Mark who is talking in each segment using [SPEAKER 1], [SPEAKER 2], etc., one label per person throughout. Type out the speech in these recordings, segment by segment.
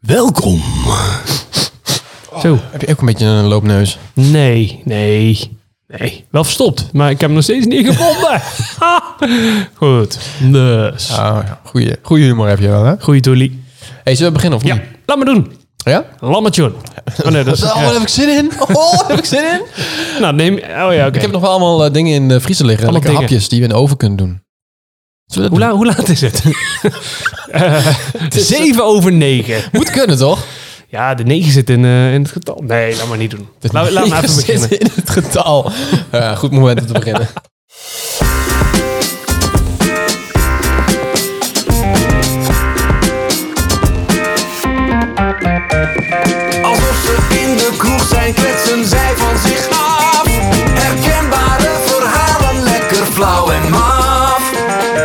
[SPEAKER 1] Welkom.
[SPEAKER 2] Zo.
[SPEAKER 3] Heb je ook een beetje een loopneus?
[SPEAKER 2] Nee, nee, nee. Wel verstopt, maar ik heb hem nog steeds niet gevonden. Ha! Goed. Dus.
[SPEAKER 3] Ah, ja. goeie, goeie humor heb je wel, hè?
[SPEAKER 2] Goeie doelie.
[SPEAKER 3] Hey, zullen we beginnen of
[SPEAKER 2] Ja,
[SPEAKER 3] niet?
[SPEAKER 2] laat maar doen.
[SPEAKER 3] Ja?
[SPEAKER 2] Lammetje. Oh nee, dat is...
[SPEAKER 3] Oh, daar heb ik zin in. Oh, daar heb ik zin in.
[SPEAKER 2] Nou, neem... Oh ja, oké.
[SPEAKER 3] Ik heb nog wel allemaal eh, dingen in de vriezer liggen.
[SPEAKER 2] Allemaal
[SPEAKER 3] Lekker
[SPEAKER 2] dingen.
[SPEAKER 3] hapjes die we in de oven kunnen doen. Zullen we
[SPEAKER 2] Hoe,
[SPEAKER 3] dat
[SPEAKER 2] la- hoe laat is het? Eh, Zeven over negen.
[SPEAKER 3] doen? Moet kunnen, toch?
[SPEAKER 2] Ja, de negen zit in, eh, in het getal. Nee, laat maar niet doen. Laat, laat maar even
[SPEAKER 3] Zit
[SPEAKER 2] beginnen.
[SPEAKER 3] in het getal. Ja, goed moment om te beginnen.
[SPEAKER 4] Alsof ze in de kroeg zijn, kletsen zij van zich af. Herkenbare verhalen, lekker flauw en maf.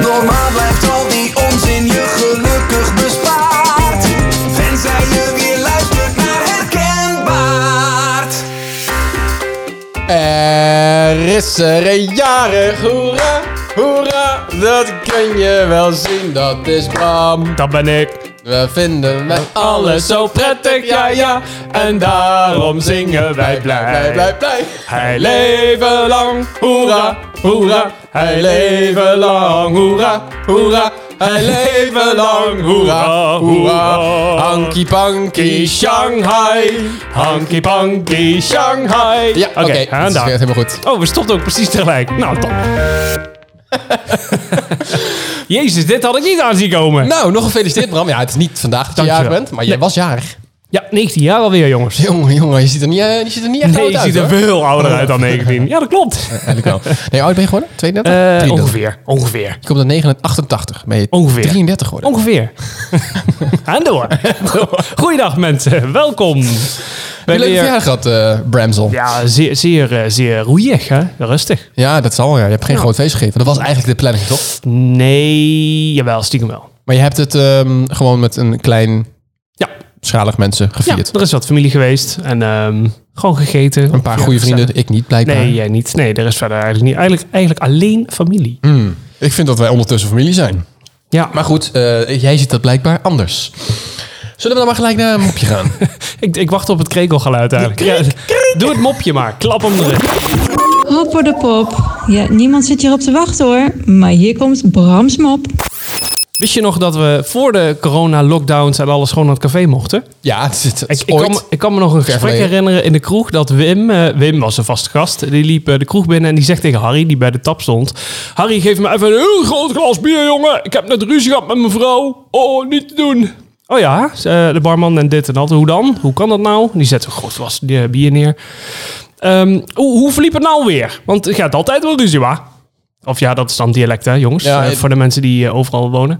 [SPEAKER 4] Normaal blijft al die onzin je gelukkig bespaard. Tenzij je weer luistert naar herkenbaard.
[SPEAKER 3] Er is er een jarig, hoera, hoera, dat kun je wel zien, dat is Bram.
[SPEAKER 2] Dat ben ik.
[SPEAKER 3] We vinden wij alles zo prettig, ja ja, en daarom zingen wij blij, blij, blij, blij. Hij leven lang, hoera, hoera, hij leven lang, hoera, hoera. Hij leven lang, hoera, hoera. Hanky panky Shanghai,
[SPEAKER 2] Hanky panky Shanghai.
[SPEAKER 3] Ja, oké,
[SPEAKER 2] aan
[SPEAKER 3] dat is
[SPEAKER 2] daar.
[SPEAKER 3] helemaal goed.
[SPEAKER 2] Oh, we stopten ook precies tegelijk. Nou, top. Jezus, dit had ik niet aanzien komen.
[SPEAKER 3] Nou, nog gefeliciteerd Bram. Ja, het is niet vandaag dat je
[SPEAKER 2] Dankjewel.
[SPEAKER 3] jarig bent, maar jij
[SPEAKER 2] Nee.
[SPEAKER 3] was jarig.
[SPEAKER 2] Ja, 19 jaar alweer, jongens.
[SPEAKER 3] Jongen, jongen, je ziet er niet, eh, je ziet er niet echt
[SPEAKER 2] Nee,
[SPEAKER 3] oud
[SPEAKER 2] ik
[SPEAKER 3] uit
[SPEAKER 2] ziet er
[SPEAKER 3] hoor.
[SPEAKER 2] veel ouder uit dan 19. Ja, dat klopt.
[SPEAKER 3] Eigenlijk wel. Nee, hoe oud ben je geworden? 32?
[SPEAKER 2] Eh,
[SPEAKER 3] 33.
[SPEAKER 2] ongeveer, ongeveer,
[SPEAKER 3] Je komt uit 89, 88. Ben je
[SPEAKER 2] Ongeveer.
[SPEAKER 3] 33 geworden.
[SPEAKER 2] ongeveer. en door. Goeiedag mensen, welkom. Bij
[SPEAKER 3] Heb je een leuke
[SPEAKER 2] weer-
[SPEAKER 3] verjaardag gehad, eh, Bramsel? Ja.
[SPEAKER 2] Ja, zeer, zeer, eh, zeer roeig, hè? Rustig.
[SPEAKER 3] dat zal wel. Ja. Je hebt geen groot feest gegeven. Dat was eigenlijk de planning, toch?
[SPEAKER 2] Nee, jawel, stiekem wel.
[SPEAKER 3] Maar je hebt het ehm, gewoon met een klein
[SPEAKER 2] Ja,
[SPEAKER 3] schalig mensen
[SPEAKER 2] ja
[SPEAKER 3] gevierd.
[SPEAKER 2] er is wat familie geweest en ehm, gewoon gegeten.
[SPEAKER 3] Een paar
[SPEAKER 2] Ja,
[SPEAKER 3] goede
[SPEAKER 2] gezellig.
[SPEAKER 3] vrienden, ik niet blijkbaar.
[SPEAKER 2] Nee, jij niet. Nee, er is verder eigenlijk niet. Eigenlijk, eigenlijk alleen familie.
[SPEAKER 3] Hmm. Ik vind dat wij ondertussen familie zijn.
[SPEAKER 2] Ja,
[SPEAKER 3] Maar goed, eh, jij ziet dat blijkbaar anders. Zullen we dan maar gelijk naar een mopje gaan?
[SPEAKER 2] ik, ik wacht op het krekelgeluid eigenlijk. Ja, Doe het mopje maar. Klap hem erin.
[SPEAKER 5] Hopper de pop. Ja, niemand zit hierop te wachten hoor. Maar hier komt Brams mop.
[SPEAKER 2] Wist je nog dat we voor de corona-lockdowns en alles gewoon naar het café mochten?
[SPEAKER 3] ja, het is, het
[SPEAKER 2] Ik,
[SPEAKER 3] is
[SPEAKER 2] ik, kan, me-
[SPEAKER 3] ooit.
[SPEAKER 2] ik kan me nog een gesprek
[SPEAKER 3] verleden.
[SPEAKER 2] herinneren in de kroeg dat Wim, eh, Wim was een vaste gast, die liep eh, de kroeg binnen en die zegt tegen Harry, die bij de tap stond, Harry geef me even een heel groot glas bier jongen, ik heb net ruzie gehad met mijn vrouw, oh niet te doen. Oh ja, eh, de barman en dit en dat, hoe dan? Hoe kan dat nou? Die zet een groot glas eh, bier neer. Ehm, hoe, hoe verliep het nou weer? Want je gaat altijd wel ruzie, waar? Of ja, dat is dan dialect hè jongens,
[SPEAKER 3] Ja,
[SPEAKER 2] Eh,
[SPEAKER 3] het-
[SPEAKER 2] voor de mensen die eh, overal wonen.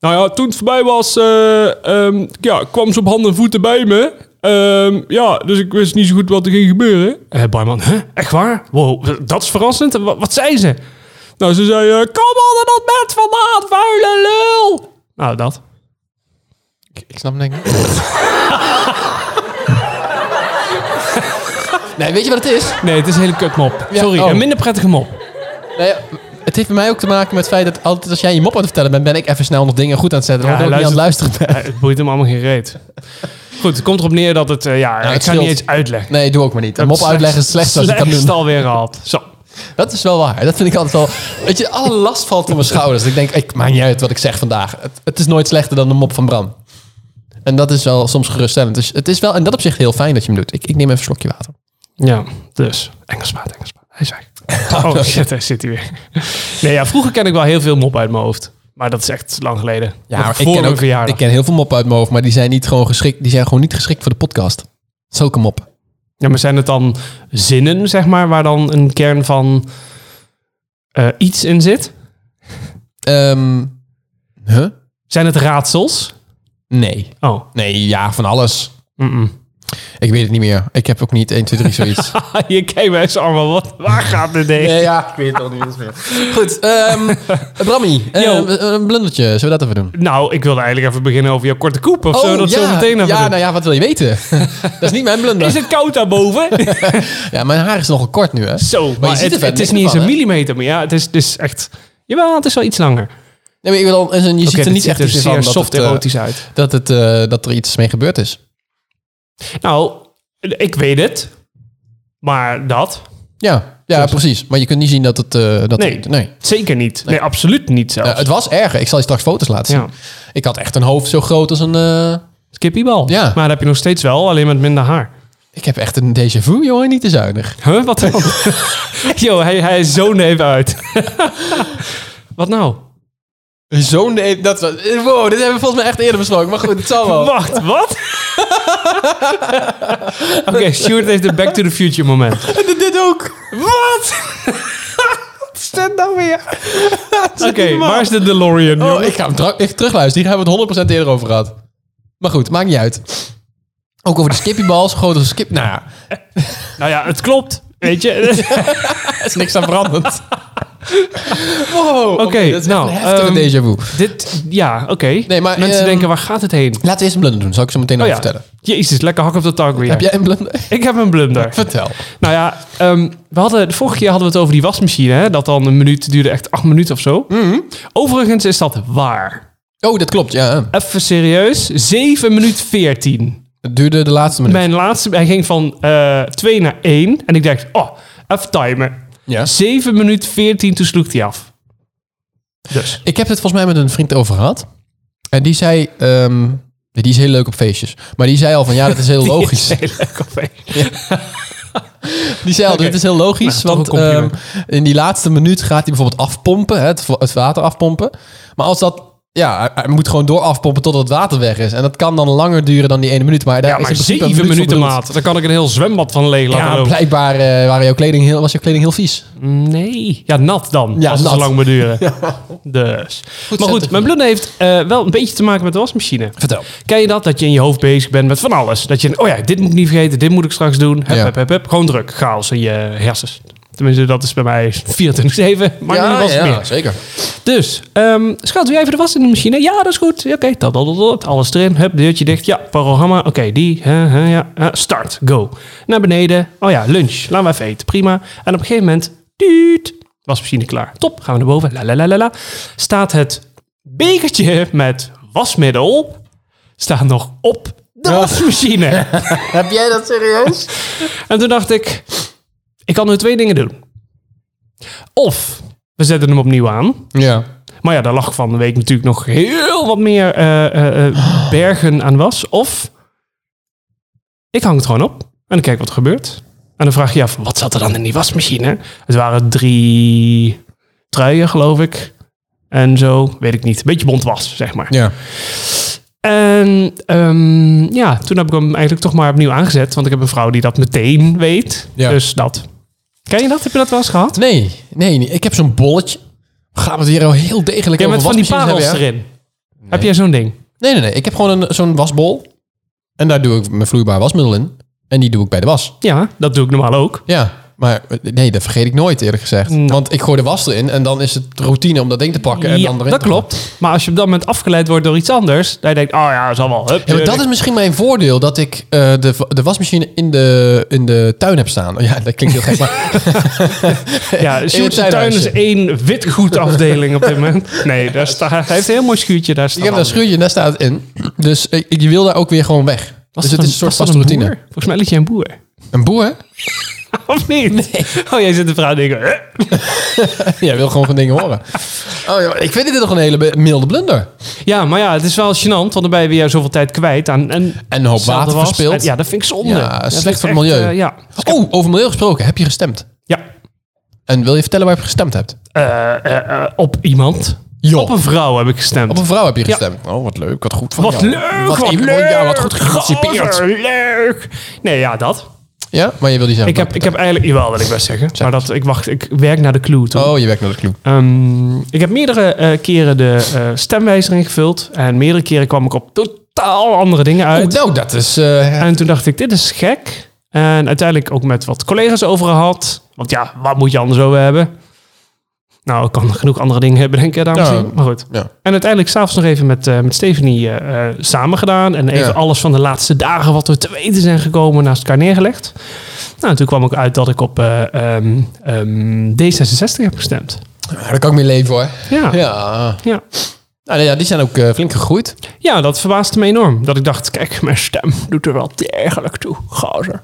[SPEAKER 2] Nou ja, toen het voorbij was, eh, ehm, ja, kwam ze op handen en voeten bij me. Ehm, ja, dus ik wist niet zo goed wat er ging gebeuren. Eh, barman, hè? Echt waar? Wow, dat is verrassend. En wa- Wat, zei ze? Nou, ze zei, eh, kom onder dat bed vandaan, vuile lul. Nou, dat.
[SPEAKER 3] Ik, ik snap het denk ik niet. nee, weet je wat het is?
[SPEAKER 2] Nee, het is een hele kutmop.
[SPEAKER 3] Ja,
[SPEAKER 2] Sorry,
[SPEAKER 3] oh.
[SPEAKER 2] een minder prettige mop.
[SPEAKER 3] Nou ja, het heeft bij mij ook te maken met het feit dat altijd als jij je mop aan het vertellen bent, ben ik even snel nog dingen goed aan het zetten. Ja,
[SPEAKER 2] Ja,
[SPEAKER 3] ik niet aan het luisteren ben.
[SPEAKER 2] Eh, het boeit hem allemaal geen reet. Goed, het komt erop neer dat het, eh, ja, ik
[SPEAKER 3] het
[SPEAKER 2] ga het niet
[SPEAKER 3] scheelt.
[SPEAKER 2] eens uitleggen.
[SPEAKER 3] Nee, doe ook maar niet. Een mop uitleggen is slecht als ik kan
[SPEAKER 2] Slechtst
[SPEAKER 3] doen.
[SPEAKER 2] alweer gehad. Zo.
[SPEAKER 3] Dat is wel waar. Dat vind ik altijd wel... Weet je, alle last valt van mijn schouders. Ik denk, ik maakt niet uit wat ik zeg vandaag. Het, het is nooit slechter dan de mop van Bram. En dat is wel soms geruststellend. Dus het is wel in dat opzicht heel fijn dat je hem doet. Ik, ik neem even een slokje water.
[SPEAKER 2] Ja, dus. Engelsmaat, Engelsmaat. Hij is weg. Oh shit, daar zit hij weer. Nee, ja, vroeger ken ik wel heel veel mop uit mijn hoofd. Maar dat is echt lang geleden.
[SPEAKER 3] Ja,
[SPEAKER 2] Dat
[SPEAKER 3] maar
[SPEAKER 2] voor
[SPEAKER 3] ik ken,
[SPEAKER 2] mijn
[SPEAKER 3] ook,
[SPEAKER 2] verjaardag.
[SPEAKER 3] ik ken heel veel moppen uit mijn hoofd, maar die zijn, niet gewoon geschikt, die zijn gewoon niet geschikt voor de podcast. Zulke mop.
[SPEAKER 2] Ja, maar zijn het dan zinnen, zeg maar, waar dan een kern van eh, iets in zit?
[SPEAKER 3] Ehm huh?
[SPEAKER 2] Zijn het raadsels?
[SPEAKER 3] Nee.
[SPEAKER 2] Oh,
[SPEAKER 3] Nee, ja, van alles.
[SPEAKER 2] mm-mm.
[SPEAKER 3] Ik weet het niet meer. Ik heb ook niet 1, 2, 3 zoiets.
[SPEAKER 2] Je kijkt mij zo allemaal, wat, waar gaat dit heen?
[SPEAKER 3] Nee, ja, ik weet het al niet eens meer. Goed, ehm Brammy, eh,
[SPEAKER 2] Yo.
[SPEAKER 3] een blundertje. Zullen we dat even doen?
[SPEAKER 2] Nou, ik wilde eigenlijk even beginnen over jouw korte koep. Of zo, dat
[SPEAKER 3] Oh, ja,
[SPEAKER 2] zo meteen even
[SPEAKER 3] ja,
[SPEAKER 2] doen.
[SPEAKER 3] nou ja, wat wil je weten? dat is niet mijn blunder.
[SPEAKER 2] Is het koud daarboven?
[SPEAKER 3] Ja, mijn haar is nogal kort nu, hè?
[SPEAKER 2] zo, maar,
[SPEAKER 3] ziet er
[SPEAKER 2] het,
[SPEAKER 3] verder
[SPEAKER 2] het dus
[SPEAKER 3] niks
[SPEAKER 2] is niet eens
[SPEAKER 3] van,
[SPEAKER 2] een
[SPEAKER 3] hè?
[SPEAKER 2] millimeter. Maar ja, het is, het is echt... Jawel, het is wel iets
[SPEAKER 3] Nee,
[SPEAKER 2] langer.
[SPEAKER 3] maar ik bedoel, als een- je ziet er niet echt iets
[SPEAKER 6] zeer
[SPEAKER 3] van dat,
[SPEAKER 6] soft
[SPEAKER 3] het, eh,
[SPEAKER 6] erotisch uit.
[SPEAKER 3] dat, het, eh, dat er iets mee gebeurd is.
[SPEAKER 2] Nou, ik weet het. Maar dat?
[SPEAKER 3] Ja, ja precies. Maar je kunt niet zien dat het... eh, dat
[SPEAKER 2] Nee.
[SPEAKER 3] nee.
[SPEAKER 2] Zeker niet. Nee, absoluut niet zelfs.
[SPEAKER 3] Ja, het was erger. Ik zal je straks foto's laten zien.
[SPEAKER 2] Ja.
[SPEAKER 3] Ik had echt een hoofd zo groot als een... eh,
[SPEAKER 2] Skippybal.
[SPEAKER 3] Ja.
[SPEAKER 2] Maar dat heb je nog steeds wel, alleen met minder haar.
[SPEAKER 3] Ik heb echt een déjà vu, jongen. Niet te zuinig.
[SPEAKER 2] Huh, wat dan? Yo, hij, hij zoonde even uit. wat nou?
[SPEAKER 3] Zo'n... e- Dat, was- wow, dit hebben we volgens mij echt eerder besproken. Maar goed, het zal wel.
[SPEAKER 2] Wacht, wat? Oké, Stuart heeft een Back to the Future moment.
[SPEAKER 3] Dit- Dit ook.
[SPEAKER 2] Wat?
[SPEAKER 3] Wat is dat nou weer?
[SPEAKER 2] Oké, waar is de DeLorean?
[SPEAKER 3] Oh,
[SPEAKER 2] jongen?
[SPEAKER 3] ik ga hem tru- ik terugluisteren. Hier hebben we het 100% eerder over gehad. Maar goed, maakt niet uit. Ook over de skippybal. Zo groot als een skip... Nou ja,
[SPEAKER 2] Nou ja, het klopt. Weet je?
[SPEAKER 3] er is niks aan veranderd. wow. Oké, ehm, dat is
[SPEAKER 2] nou,
[SPEAKER 3] echt een heftige déjà vu.
[SPEAKER 2] Dit, ja, oké.
[SPEAKER 3] Nee, maar,
[SPEAKER 2] Mensen
[SPEAKER 3] ehm,
[SPEAKER 2] denken, waar gaat het heen?
[SPEAKER 3] Laten we eerst een blunder doen. Zal ik zo meteen nog
[SPEAKER 2] Oh ja.
[SPEAKER 3] vertellen.
[SPEAKER 2] Jezus, lekker hak op de target weer.
[SPEAKER 3] Heb jij een blunder?
[SPEAKER 2] Ik heb een blunder.
[SPEAKER 3] Vertel.
[SPEAKER 2] Nou ja, ehm, we hadden, de vorige keer hadden we het over die wasmachine. Hè? Dat dan een minuut duurde echt acht minuten of zo.
[SPEAKER 3] Mhm.
[SPEAKER 2] Overigens is dat waar.
[SPEAKER 3] Oh, dat klopt, ja.
[SPEAKER 2] Even serieus. 7 minuut 14.
[SPEAKER 3] Het duurde de laatste minuut.
[SPEAKER 2] Mijn laatste, hij ging van 2 naar 1. En ik dacht, oh, even timer.
[SPEAKER 3] Ja.
[SPEAKER 2] 7 minuut 14, toen sloeg hij af. Dus.
[SPEAKER 3] Ik heb het volgens mij met een vriend over gehad. En die zei... ehm, die is heel leuk op feestjes. Maar die zei al van, ja, dat is heel logisch.
[SPEAKER 2] Heel leuk op één.
[SPEAKER 3] Die zei al, dit is heel logisch.
[SPEAKER 2] Nou,
[SPEAKER 3] want
[SPEAKER 2] toch een compliment.
[SPEAKER 3] ehm, in die laatste minuut gaat hij bijvoorbeeld afpompen. Hè, het, va- het water afpompen. Maar als dat... Ja, hij- hij moet gewoon door afpompen totdat het water weg is. En dat kan dan langer duren dan die ene minuut. Maar daar
[SPEAKER 2] Ja,
[SPEAKER 3] is
[SPEAKER 2] maar
[SPEAKER 3] in principe
[SPEAKER 2] 7
[SPEAKER 3] een minuut voor
[SPEAKER 2] minuten,
[SPEAKER 3] bedoeld.
[SPEAKER 2] maat. Dan kan ik een heel zwembad van leeg laten
[SPEAKER 3] Ja,
[SPEAKER 2] lopen. Mm,
[SPEAKER 3] blijkbaar eh, waren jouw kleding heel, was jouw kleding heel vies.
[SPEAKER 2] Nee. Ja, nat dan.
[SPEAKER 3] Ja,
[SPEAKER 2] als het zo
[SPEAKER 3] nat.
[SPEAKER 2] lang moet duren. Dus. maar goed,
[SPEAKER 3] centerfold.
[SPEAKER 2] mijn blunder heeft eh, wel een beetje te maken met de wasmachine.
[SPEAKER 3] Vertel.
[SPEAKER 2] Ken je dat? Dat je in je hoofd bezig bent met van alles. Dat je, oh ja, dit moet ik niet vergeten. Dit moet ik straks doen. Heb,
[SPEAKER 3] Ja.
[SPEAKER 2] heb, heb, heb. Gewoon druk. Chaos in je hersens. Tenminste, dat is bij mij 24-7. Maar ja, was meer.
[SPEAKER 3] zeker.
[SPEAKER 2] Dus, ehm schat, wil jij even de was in de machine? Ja, dat is goed. Ja, Oké, dat, dat, dat, dat, alles erin. Hup, deurtje dicht. Ja, programma. Oké, die. hè, hè, ja, hè. start, go. Naar beneden. Oh ja, lunch. Laten we even eten. Prima. En op een gegeven moment, tuut, wasmachine klaar. Top, gaan we naar boven. La, la, la, la, la. Staat het bekertje met wasmiddel, staat nog op de wasmachine.
[SPEAKER 3] Heb jij dat serieus?
[SPEAKER 2] En toen dacht ik, ik kan nu twee dingen doen. Of we zetten hem opnieuw aan.
[SPEAKER 3] Ja.
[SPEAKER 2] Maar ja, daar lag van de week natuurlijk nog heel wat meer eh, eh, eh, bergen aan was. Of ik hang het gewoon op en dan kijk wat er gebeurt. En dan vraag je je af, wat zat er dan in die wasmachine? Het waren drie truien, geloof ik. En zo, weet ik niet. Beetje bont was, zeg maar.
[SPEAKER 3] Ja.
[SPEAKER 2] En ehm, ja, toen heb ik hem eigenlijk toch maar opnieuw aangezet. Want ik heb een vrouw die dat meteen weet.
[SPEAKER 3] Ja.
[SPEAKER 2] Dus dat. Ken je dat? Heb je dat wel eens gehad?
[SPEAKER 3] Nee, nee, nee. Ik heb zo'n bolletje. Gaan we het weer al heel degelijk
[SPEAKER 2] Ja,
[SPEAKER 3] over
[SPEAKER 2] met van die
[SPEAKER 3] wasmachines
[SPEAKER 2] parels
[SPEAKER 3] hebben, ja?
[SPEAKER 2] erin. Heb jij zo'n ding?
[SPEAKER 3] Nee, nee, nee. Ik heb gewoon een- zo'n wasbol. En daar doe ik mijn vloeibaar wasmiddel in. En die doe ik bij de was.
[SPEAKER 2] Ja, dat doe ik normaal ook.
[SPEAKER 3] Ja, maar eh, nee, dat vergeet ik nooit eerlijk gezegd. Want ik gooi de was erin en dan is het routine om dat ding te pakken en
[SPEAKER 2] Nou. Ja,
[SPEAKER 3] dan erin
[SPEAKER 2] dat
[SPEAKER 3] te gooien.
[SPEAKER 2] klopt. Maar als je op dat moment afgeleid wordt door iets anders, dan denk je, oh ja, dat is allemaal. Hup,
[SPEAKER 3] Ja, maar dat is misschien mijn voordeel, dat ik eh, de, wa- de wasmachine in de, in de tuin heb staan. Oh Ja, dat klinkt heel gek, maar
[SPEAKER 2] ja, Sjoerd
[SPEAKER 3] het
[SPEAKER 2] Tuin is
[SPEAKER 3] tuinhuisje.
[SPEAKER 2] één witgoedafdeling op dit moment. Nee, daar staat, hij heeft een heel mooi schuurtje. Daar
[SPEAKER 3] ik
[SPEAKER 2] staat
[SPEAKER 3] heb daar een schuurtje en daar staat het in. Dus eh, ik, je wil daar ook weer gewoon weg. dus het is een soort vaste routine.
[SPEAKER 2] Volgens mij liet je een boer.
[SPEAKER 3] Een boer?
[SPEAKER 2] Of niet? Oh, jij zit te praten en denken, eh?
[SPEAKER 3] Jij wil gewoon van dingen horen. Oh, ja, maar ik vind dit toch een hele be- milde blunder.
[SPEAKER 2] Ja, maar ja, het is wel gênant, want dan ben je weer zoveel tijd kwijt aan... En,
[SPEAKER 3] En een hoop
[SPEAKER 2] hetzelfde
[SPEAKER 3] water
[SPEAKER 2] was.
[SPEAKER 3] verspild.
[SPEAKER 2] En ja, dat vind ik zonde.
[SPEAKER 3] Ja,
[SPEAKER 2] Dat
[SPEAKER 3] slecht
[SPEAKER 2] vind ik
[SPEAKER 3] voor het
[SPEAKER 2] echt,
[SPEAKER 3] milieu.
[SPEAKER 2] eh, ja.
[SPEAKER 3] Oh, over milieu gesproken. Heb je gestemd?
[SPEAKER 2] ja.
[SPEAKER 3] En wil je vertellen waar je op gestemd hebt?
[SPEAKER 2] Eh, eh, eh, op iemand.
[SPEAKER 3] Jo.
[SPEAKER 2] Op een vrouw heb ik gestemd.
[SPEAKER 3] Op een vrouw heb je gestemd. Oh, wat leuk. Wat goed van
[SPEAKER 2] Wat
[SPEAKER 3] jou.
[SPEAKER 2] leuk, wat,
[SPEAKER 3] Wat even- oh,
[SPEAKER 2] leuk.
[SPEAKER 3] Ja, wat goed geanticipeerd.
[SPEAKER 2] Gozer, leuk. Nee, ja, dat.
[SPEAKER 3] Ja, maar je wil die zelf
[SPEAKER 2] Ik heb, ik heb eigenlijk... Jawel, wil ik best zeggen. Maar dat, ik, wacht, ik werk naar de clue toe.
[SPEAKER 3] Oh, je werkt naar de clue.
[SPEAKER 2] Ehm, ik heb meerdere eh, keren de eh, stemwijzer ingevuld. En meerdere keren kwam ik op totaal andere dingen uit.
[SPEAKER 3] Oh, nou, dat is... eh,
[SPEAKER 2] En toen dacht ik, dit is gek. En uiteindelijk ook met wat collega's over gehad. Want ja, wat moet je anders over hebben? Nou, ik kan genoeg andere dingen hebben, denk ik, dames en
[SPEAKER 3] Ja.
[SPEAKER 2] heren. Maar goed.
[SPEAKER 3] Ja.
[SPEAKER 2] En uiteindelijk s'avonds nog even met, eh, met Stephanie eh, eh, samen gedaan. En even
[SPEAKER 3] Ja.
[SPEAKER 2] alles van de laatste dagen wat we te weten zijn gekomen naast elkaar neergelegd. Nou, en toen kwam ik uit dat ik op eh, ehm, ehm, D66 heb gestemd.
[SPEAKER 3] daar kan ik mee leven hoor.
[SPEAKER 2] Ja. ja.
[SPEAKER 3] Ja. Nou ja, die zijn ook eh, flink gegroeid.
[SPEAKER 2] Ja, dat verbaasde me enorm. Dat ik dacht, kijk, mijn stem doet er wel degelijk toe. Gozer.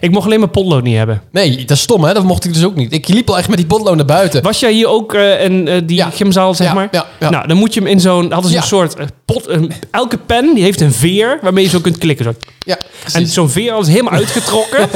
[SPEAKER 2] Ik mocht alleen mijn potlood niet hebben.
[SPEAKER 3] Nee, dat is stom hè, dat mocht ik dus ook niet. Ik liep al echt met die potlood naar buiten.
[SPEAKER 2] Was jij hier ook eh, in eh, die
[SPEAKER 3] Ja.
[SPEAKER 2] gymzaal, zeg
[SPEAKER 3] Ja,
[SPEAKER 2] maar?
[SPEAKER 3] ja, ja.
[SPEAKER 2] Nou, dan moet je hem in zo'n... Hadden ze
[SPEAKER 3] Ja.
[SPEAKER 2] een soort eh, pot... een- elke pen die heeft een veer waarmee je zo kunt klikken. Zo.
[SPEAKER 3] Ja,
[SPEAKER 2] En zo'n veer was helemaal uitgetrokken.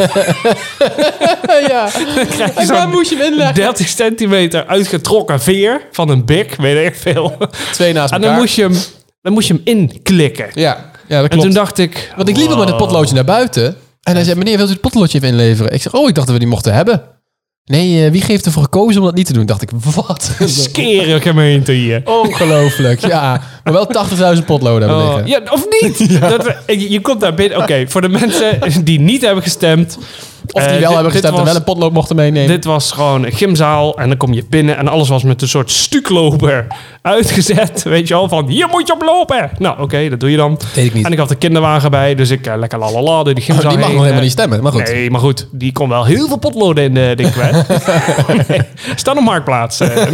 [SPEAKER 3] ja.
[SPEAKER 2] krijg je
[SPEAKER 3] En daar
[SPEAKER 2] zo'n
[SPEAKER 3] moest je hem inleggen.
[SPEAKER 2] 30 centimeter uitgetrokken veer van een bik, weet ik veel.
[SPEAKER 3] Twee naast
[SPEAKER 2] En
[SPEAKER 3] elkaar.
[SPEAKER 2] dan moest je hem, dan moest je hem inklikken.
[SPEAKER 3] Ja, ja dat
[SPEAKER 2] En
[SPEAKER 3] klopt.
[SPEAKER 2] toen dacht ik...
[SPEAKER 3] Want ik liep al met het potloodje naar buiten. En hij zei, meneer, wilt u het potloodje even inleveren? Ik zeg, oh, ik dacht dat we die mochten hebben. Nee, eh, wie heeft ervoor gekozen om dat niet te doen? Dacht ik, wat?
[SPEAKER 2] Skere oh, gemeente hier.
[SPEAKER 3] Oh, Ongelooflijk, ja. Maar wel 80.000 potloden hebben
[SPEAKER 2] Oh,
[SPEAKER 3] liggen.
[SPEAKER 2] ja, of niet? Dat, je, je komt daar binnen. Oké, voor de mensen die niet hebben gestemd. eh,
[SPEAKER 3] Of die wel hebben gestemd en wel een potlood mochten meenemen.
[SPEAKER 2] Dit was gewoon een gymzaal en dan kom je binnen en alles was met een soort stukloper uitgezet. Weet je al, van hier moet je op lopen. Nou, oké, dat doe je dan.
[SPEAKER 3] Weet ik niet.
[SPEAKER 2] En ik had de kinderwagen bij, dus ik eh, lekker lalala door die
[SPEAKER 3] Oh,
[SPEAKER 2] gymzaal
[SPEAKER 3] die mag
[SPEAKER 2] heen,
[SPEAKER 3] nog helemaal
[SPEAKER 2] eh.
[SPEAKER 3] niet stemmen, maar goed.
[SPEAKER 2] Nee, maar goed, die kon wel heel veel potloden in de ding kwijt. nee, staan op marktplaats. eh.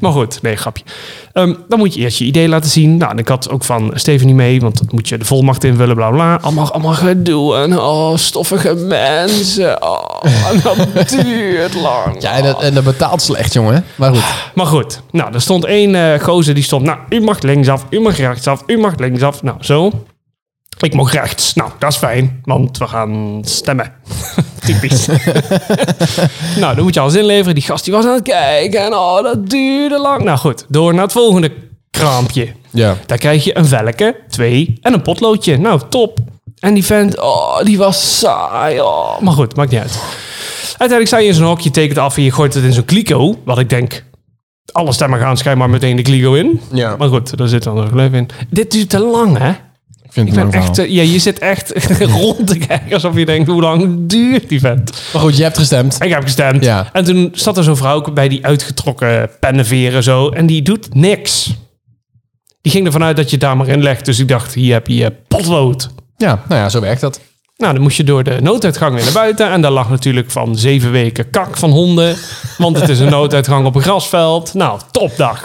[SPEAKER 2] maar goed, nee, grapje. Ehm, dan moet je eerst je idee laten zien. Nou, en ik had ook van Stephanie mee, want dan moet je de volmacht invullen, bla bla. Allemaal, allemaal gedoe en oh, stoffige mensen. Oh, en dat duurt lang.
[SPEAKER 3] Ja, en dat, en dat betaalt slecht, jongen. Maar goed.
[SPEAKER 2] Maar goed, nou, er stond één eh, gozer die stond, nou, u mag linksaf, u mag rechtsaf, u mag linksaf. Nou, zo. Ik mocht rechts. Nou, dat is fijn, want we gaan stemmen. Typisch. nou, dan moet je alles inleveren. Die gast die was aan het kijken en oh, dat duurde lang. Nou goed, door naar het volgende kraampje.
[SPEAKER 3] Ja.
[SPEAKER 2] Daar krijg je een velke, twee en een potloodje. Nou, top. En die vent, oh, die was saai. Oh. Maar goed, maakt niet uit. Uiteindelijk sta je in zo'n hokje, tekent af en je gooit het in zo'n kliko. Wat ik denk, alle stemmen gaan schijnbaar meteen de kliko in.
[SPEAKER 3] Ja.
[SPEAKER 2] Maar goed, daar zit dan een gleuf in. Dit duurt te lang, hè?
[SPEAKER 3] Ik vind
[SPEAKER 2] Ik ben echt, eh, ja, je zit echt rond te kijken alsof je denkt, hoe lang duurt die vent?
[SPEAKER 3] Maar goed, je hebt gestemd.
[SPEAKER 2] Ik heb gestemd.
[SPEAKER 3] Ja.
[SPEAKER 2] En toen zat er zo'n vrouw bij die uitgetrokken pennenveren zo. En die doet niks. Die ging ervan uit dat je het daar maar in legt. Dus ik dacht, hier heb je eh, potlood.
[SPEAKER 3] Ja, nou ja, zo werkt dat.
[SPEAKER 2] Nou, dan moest je door de nooduitgang weer naar buiten. En daar lag natuurlijk van zeven weken kak van honden. Want het is een nooduitgang op een grasveld. Nou, topdag.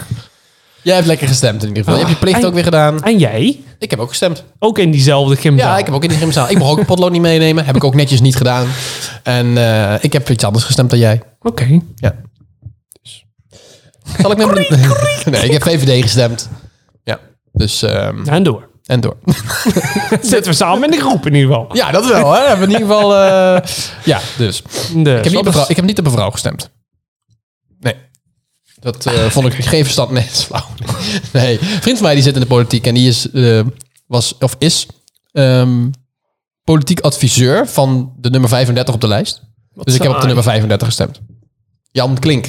[SPEAKER 3] Jij hebt lekker gestemd in ieder geval. Je hebt je plicht
[SPEAKER 2] en-
[SPEAKER 3] ook weer gedaan.
[SPEAKER 2] En jij?
[SPEAKER 3] Ik heb ook gestemd.
[SPEAKER 2] Ook in diezelfde gymzaal.
[SPEAKER 3] Ja, ik heb ook in de gymzaal. Ik mocht ook het potlood niet meenemen. Heb ik ook netjes niet gedaan. En eh, ik heb iets anders gestemd dan jij.
[SPEAKER 2] Oké.
[SPEAKER 3] Ja. Zal ik met Nee, ik heb VVD gestemd. Ja. Dus, ehm,
[SPEAKER 2] En door.
[SPEAKER 3] en door.
[SPEAKER 2] Zitten we samen in de groep in ieder geval.
[SPEAKER 3] Ja, dat wel, hè. In ieder geval, eh, ja, dus.
[SPEAKER 2] Dus,
[SPEAKER 3] Ik heb, niet op een
[SPEAKER 2] dat is-
[SPEAKER 3] vrouw, ik heb niet op een vrouw gestemd. Nee. Dat eh,
[SPEAKER 2] Ah,
[SPEAKER 3] vond ik geen verstand. Nee, dat is flauw. Nee. Een vriend van mij die zit in de politiek en die is, eh, was, of is ehm, politiek adviseur van de nummer 35 op de lijst. dus ik heb op de
[SPEAKER 2] saai.
[SPEAKER 3] nummer 35 gestemd. Jan Klink.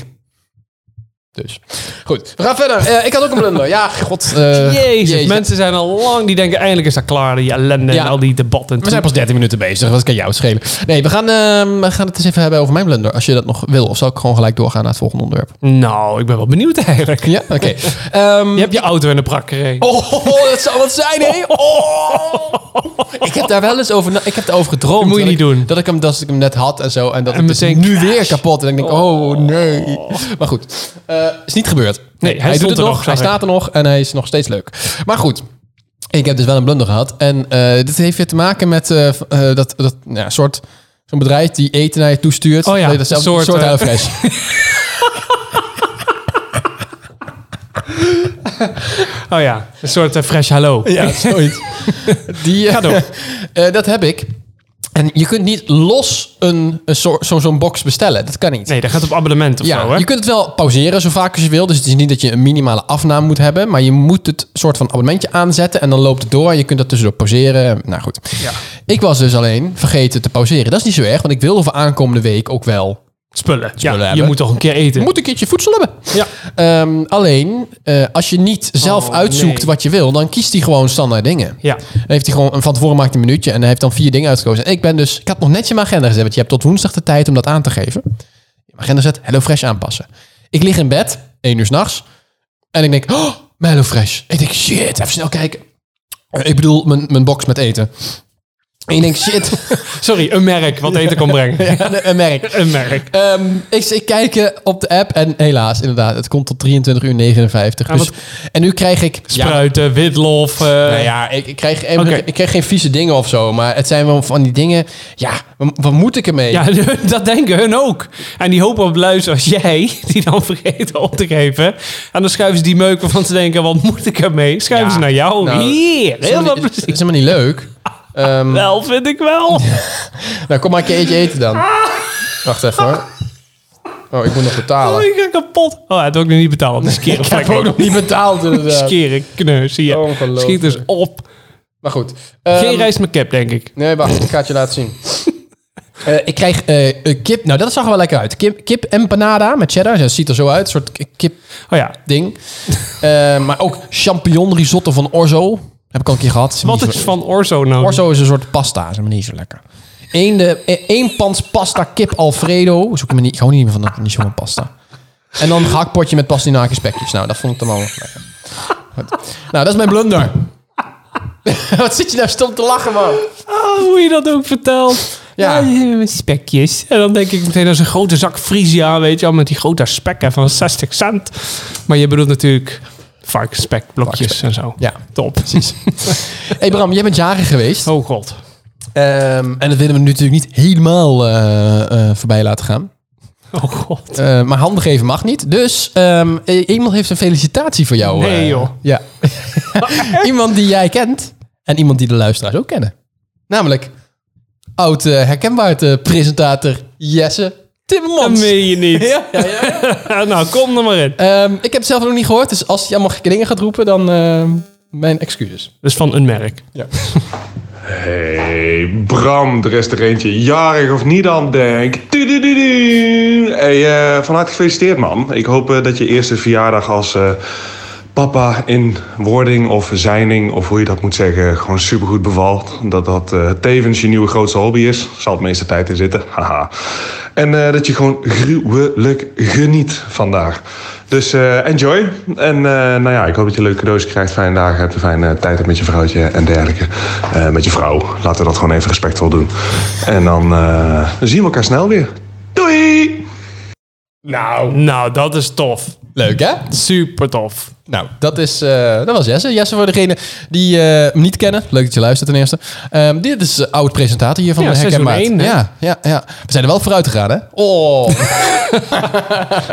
[SPEAKER 3] Dus. Goed. We gaan verder. Eh, ik had ook een blunder. Ja, god. eh,
[SPEAKER 2] Jezus,
[SPEAKER 3] jezus.
[SPEAKER 2] mensen zijn al lang die denken eindelijk is dat klaar, die ellende
[SPEAKER 3] Ja.
[SPEAKER 2] en al die debatten.
[SPEAKER 3] We zijn pas 13 minuten bezig. Wat kan jou het schelen? Nee, we gaan, ehm, we gaan het eens even hebben over mijn blunder. Als je dat nog wil. Of zal ik gewoon gelijk doorgaan naar het volgende onderwerp?
[SPEAKER 2] Nou, ik ben wel benieuwd eigenlijk.
[SPEAKER 3] Ja, oké. Ehm,
[SPEAKER 2] Je hebt je auto in de prak gereden.
[SPEAKER 3] Oh, dat zou wat zijn, hè? Oh. Ik heb daar wel eens over, na- ik heb daarover gedroomd.
[SPEAKER 2] Dat moet je
[SPEAKER 3] Dat
[SPEAKER 2] niet
[SPEAKER 3] ik-
[SPEAKER 2] doen.
[SPEAKER 3] Dat ik, hem, dat ik hem net had en zo. En dat
[SPEAKER 2] En
[SPEAKER 3] het dus
[SPEAKER 2] meteen
[SPEAKER 3] nu weer kapot. En ik denk, oh, nee. Maar goed, eh, is niet gebeurd.
[SPEAKER 2] Nee, hij
[SPEAKER 3] doet
[SPEAKER 2] stond
[SPEAKER 3] het
[SPEAKER 2] er
[SPEAKER 3] nog,
[SPEAKER 2] nog,
[SPEAKER 3] hij
[SPEAKER 2] zag ik.
[SPEAKER 3] staat er nog en hij is nog steeds leuk. Maar goed, ik heb dus wel een blunder gehad. En eh, dit heeft weer te maken met eh, v- eh, dat, dat nou ja, soort... Zo'n bedrijf die eten naar je toe stuurt.
[SPEAKER 2] Oh ja,
[SPEAKER 3] Nee, dat is
[SPEAKER 2] een
[SPEAKER 3] zelf- een soort
[SPEAKER 2] soort, eh,
[SPEAKER 3] HelloFresh.
[SPEAKER 2] Oh ja, een soort eh, fresh hallo.
[SPEAKER 3] Ja, zoiets. Die, eh,
[SPEAKER 2] Ga door.
[SPEAKER 3] eh, dat heb ik. En je kunt niet los een, een soort- zo- zo'n box bestellen. Dat kan niet.
[SPEAKER 2] Nee, dat gaat op abonnement of
[SPEAKER 3] ja,
[SPEAKER 2] zo, hè?
[SPEAKER 3] je kunt het wel pauzeren zo vaak als je wil. Dus het is niet dat je een minimale afname moet hebben. Maar je moet het soort van abonnementje aanzetten. En dan loopt het door. En je kunt dat tussendoor pauzeren. Nou goed.
[SPEAKER 2] Ja.
[SPEAKER 3] Ik was dus alleen vergeten te pauzeren. Dat is niet zo erg. Want ik wilde voor aankomende week ook wel.
[SPEAKER 2] Spullen. ja, je
[SPEAKER 3] hebben.
[SPEAKER 2] moet toch een keer eten.
[SPEAKER 3] Je moet een keertje voedsel hebben.
[SPEAKER 2] Ja.
[SPEAKER 3] Ehm, alleen, eh, als je niet zelf
[SPEAKER 2] Oh,
[SPEAKER 3] uitzoekt
[SPEAKER 2] nee.
[SPEAKER 3] wat je wil, dan kiest hij gewoon standaard dingen.
[SPEAKER 2] Ja.
[SPEAKER 3] Dan heeft hij gewoon van tevoren maakt hij een minuutje en hij heeft dan vier dingen uitgekozen. En ik ben dus, ik had nog netjes in mijn agenda gezet, want je hebt tot woensdag de tijd om dat aan te geven. In mijn agenda zet HelloFresh aanpassen. Ik lig in bed, één uur s'nachts, en ik denk, oh, mijn HelloFresh. Ik denk, shit, even snel kijken. Eh, Ik bedoel, mijn, mijn box met eten. En je denkt, shit,
[SPEAKER 2] Sorry, een merk wat eten kon brengen.
[SPEAKER 3] een merk.
[SPEAKER 2] Een merk.
[SPEAKER 3] Ehm, ik, ik kijk eh, op de app en helaas, inderdaad, het komt tot 23 uur 59.
[SPEAKER 2] Ja,
[SPEAKER 3] dus,
[SPEAKER 2] wat-
[SPEAKER 3] en nu krijg ik... Ja,
[SPEAKER 2] Spruiten, witlof. eh,
[SPEAKER 3] nou ja, ik, ik, krijg, even-
[SPEAKER 2] Oké.
[SPEAKER 3] ik krijg geen vieze dingen of zo, maar het zijn wel van die dingen... Ja, wa- wat moet ik ermee?
[SPEAKER 2] Ja, dat denken hun ook. En die hopen op luister als jij, die dan vergeten op te geven. En dan schuiven ze die meuk van ze denken, wat moet ik ermee? Schuiven
[SPEAKER 3] Ja,
[SPEAKER 2] ze naar jou.
[SPEAKER 3] nou,
[SPEAKER 2] Hier,
[SPEAKER 3] Dat is
[SPEAKER 2] heel
[SPEAKER 3] helemaal
[SPEAKER 2] veel
[SPEAKER 3] niet- dat
[SPEAKER 2] plezier.
[SPEAKER 3] is helemaal niet leuk. Ehm,
[SPEAKER 2] Wel, vind ik wel.
[SPEAKER 3] nou, kom maar een keer eentje eten dan. Wacht even hoor. Oh, ik moet nog
[SPEAKER 2] Oh,
[SPEAKER 3] betalen.
[SPEAKER 2] ik ga kapot. Oh, hij had ook nog niet betaald. Dus keren
[SPEAKER 3] Ik heb ook nog niet betaald inderdaad.
[SPEAKER 2] Skeren, kneus, zie je.
[SPEAKER 3] Ongelooflijk.
[SPEAKER 2] Schiet dus op.
[SPEAKER 3] Maar goed. ehm,
[SPEAKER 2] Geen reis met cap, denk ik.
[SPEAKER 3] Nee, wacht, ik ga het je laten zien. Eh, ik krijg eh, eh, kip. Nou, dat zag er wel lekker uit. Kip, kip empanada met cheddar. Dat ziet er zo uit. Een soort k- kipding.
[SPEAKER 2] Oh ja.
[SPEAKER 3] Eh, maar ook champignon risotto van Orzo. Heb ik al een keer gehad.
[SPEAKER 2] Wat
[SPEAKER 3] Niet
[SPEAKER 2] is
[SPEAKER 3] zo-
[SPEAKER 2] van Orzo nou?
[SPEAKER 3] Orzo is een soort pasta. Is maar niet zo lekker. Eén, de, e-, één pans pasta kip Alfredo. Zoek ik me niet. Ik hou niet meer van dat. Niet zo van pasta. En dan een gehaktpotje met pastinaakjes spekjes. Nou, dat vond ik dan wel lekker. Goed. Nou, dat is mijn blunder. Wat zit je nou stom te lachen, man?
[SPEAKER 2] Oh, hoe je dat ook vertelt.
[SPEAKER 3] Ja.
[SPEAKER 2] Ja. met spekjes. En dan denk ik meteen aan zo'n grote zak Frisia, weet je wel, met die grote spekken van 60 cent. Maar je bedoelt natuurlijk varkensspekblokjes en zo.
[SPEAKER 3] Ja,
[SPEAKER 2] Top. Precies.
[SPEAKER 3] hey Bram, jij bent jarig geweest.
[SPEAKER 2] Oh god.
[SPEAKER 3] Ehm, en dat willen we nu natuurlijk niet helemaal eh, eh, voorbij laten gaan.
[SPEAKER 2] Oh god.
[SPEAKER 3] Eh, maar handen geven mag niet. Dus ehm, eh, iemand heeft een felicitatie voor jou.
[SPEAKER 2] Nee,
[SPEAKER 3] eh,
[SPEAKER 2] joh.
[SPEAKER 3] Ja. iemand die jij kent. En iemand die de luisteraars ook kennen. Namelijk oud eh herkenbaar eh, presentator Jesse
[SPEAKER 2] Dat
[SPEAKER 3] Timmermans.
[SPEAKER 2] meen je niet.
[SPEAKER 3] Ja, ja, ja.
[SPEAKER 2] nou, kom er maar in.
[SPEAKER 3] Ehm, ik heb het zelf nog niet gehoord. Dus als hij allemaal gekke dingen gaat roepen, dan ehm, mijn excuses.
[SPEAKER 2] Dat is van een merk.
[SPEAKER 7] Hey Bram, er is er eentje jarig of niet aan, denk. Tudududu. Hey, eh, van harte gefeliciteerd, man. Ik hoop eh, dat je eerste verjaardag als eh, papa in wording of zijning, of hoe je dat moet zeggen, gewoon supergoed bevalt. Dat dat eh, tevens je nieuwe grootste hobby is. Zal het meeste tijd in zitten. Haha. En eh, dat je gewoon gruwelijk geniet vandaag. Dus eh, enjoy. En eh, nou ja, ik hoop dat je leuke cadeaus krijgt, fijne dagen hebt, een fijne tijd hebt met je vrouwtje en dergelijke. Eh, met je vrouw. Laten we dat gewoon even respectvol doen. En dan eh, zien we elkaar snel weer. Doei!
[SPEAKER 2] Nou. Nou, dat is tof.
[SPEAKER 3] Leuk, hè?
[SPEAKER 2] Super tof.
[SPEAKER 3] Nou, dat, is, eh, dat was Jesse. Jesse voor degene die eh, hem niet kennen. Leuk dat je luistert ten eerste. Ehm, dit is de oud presentator hier van
[SPEAKER 2] Ja,
[SPEAKER 3] de Hek en
[SPEAKER 2] seizoen
[SPEAKER 3] Maat.
[SPEAKER 2] één, hè?
[SPEAKER 3] ja, ja, ja. We zijn er wel vooruit gegaan, hè? Oh.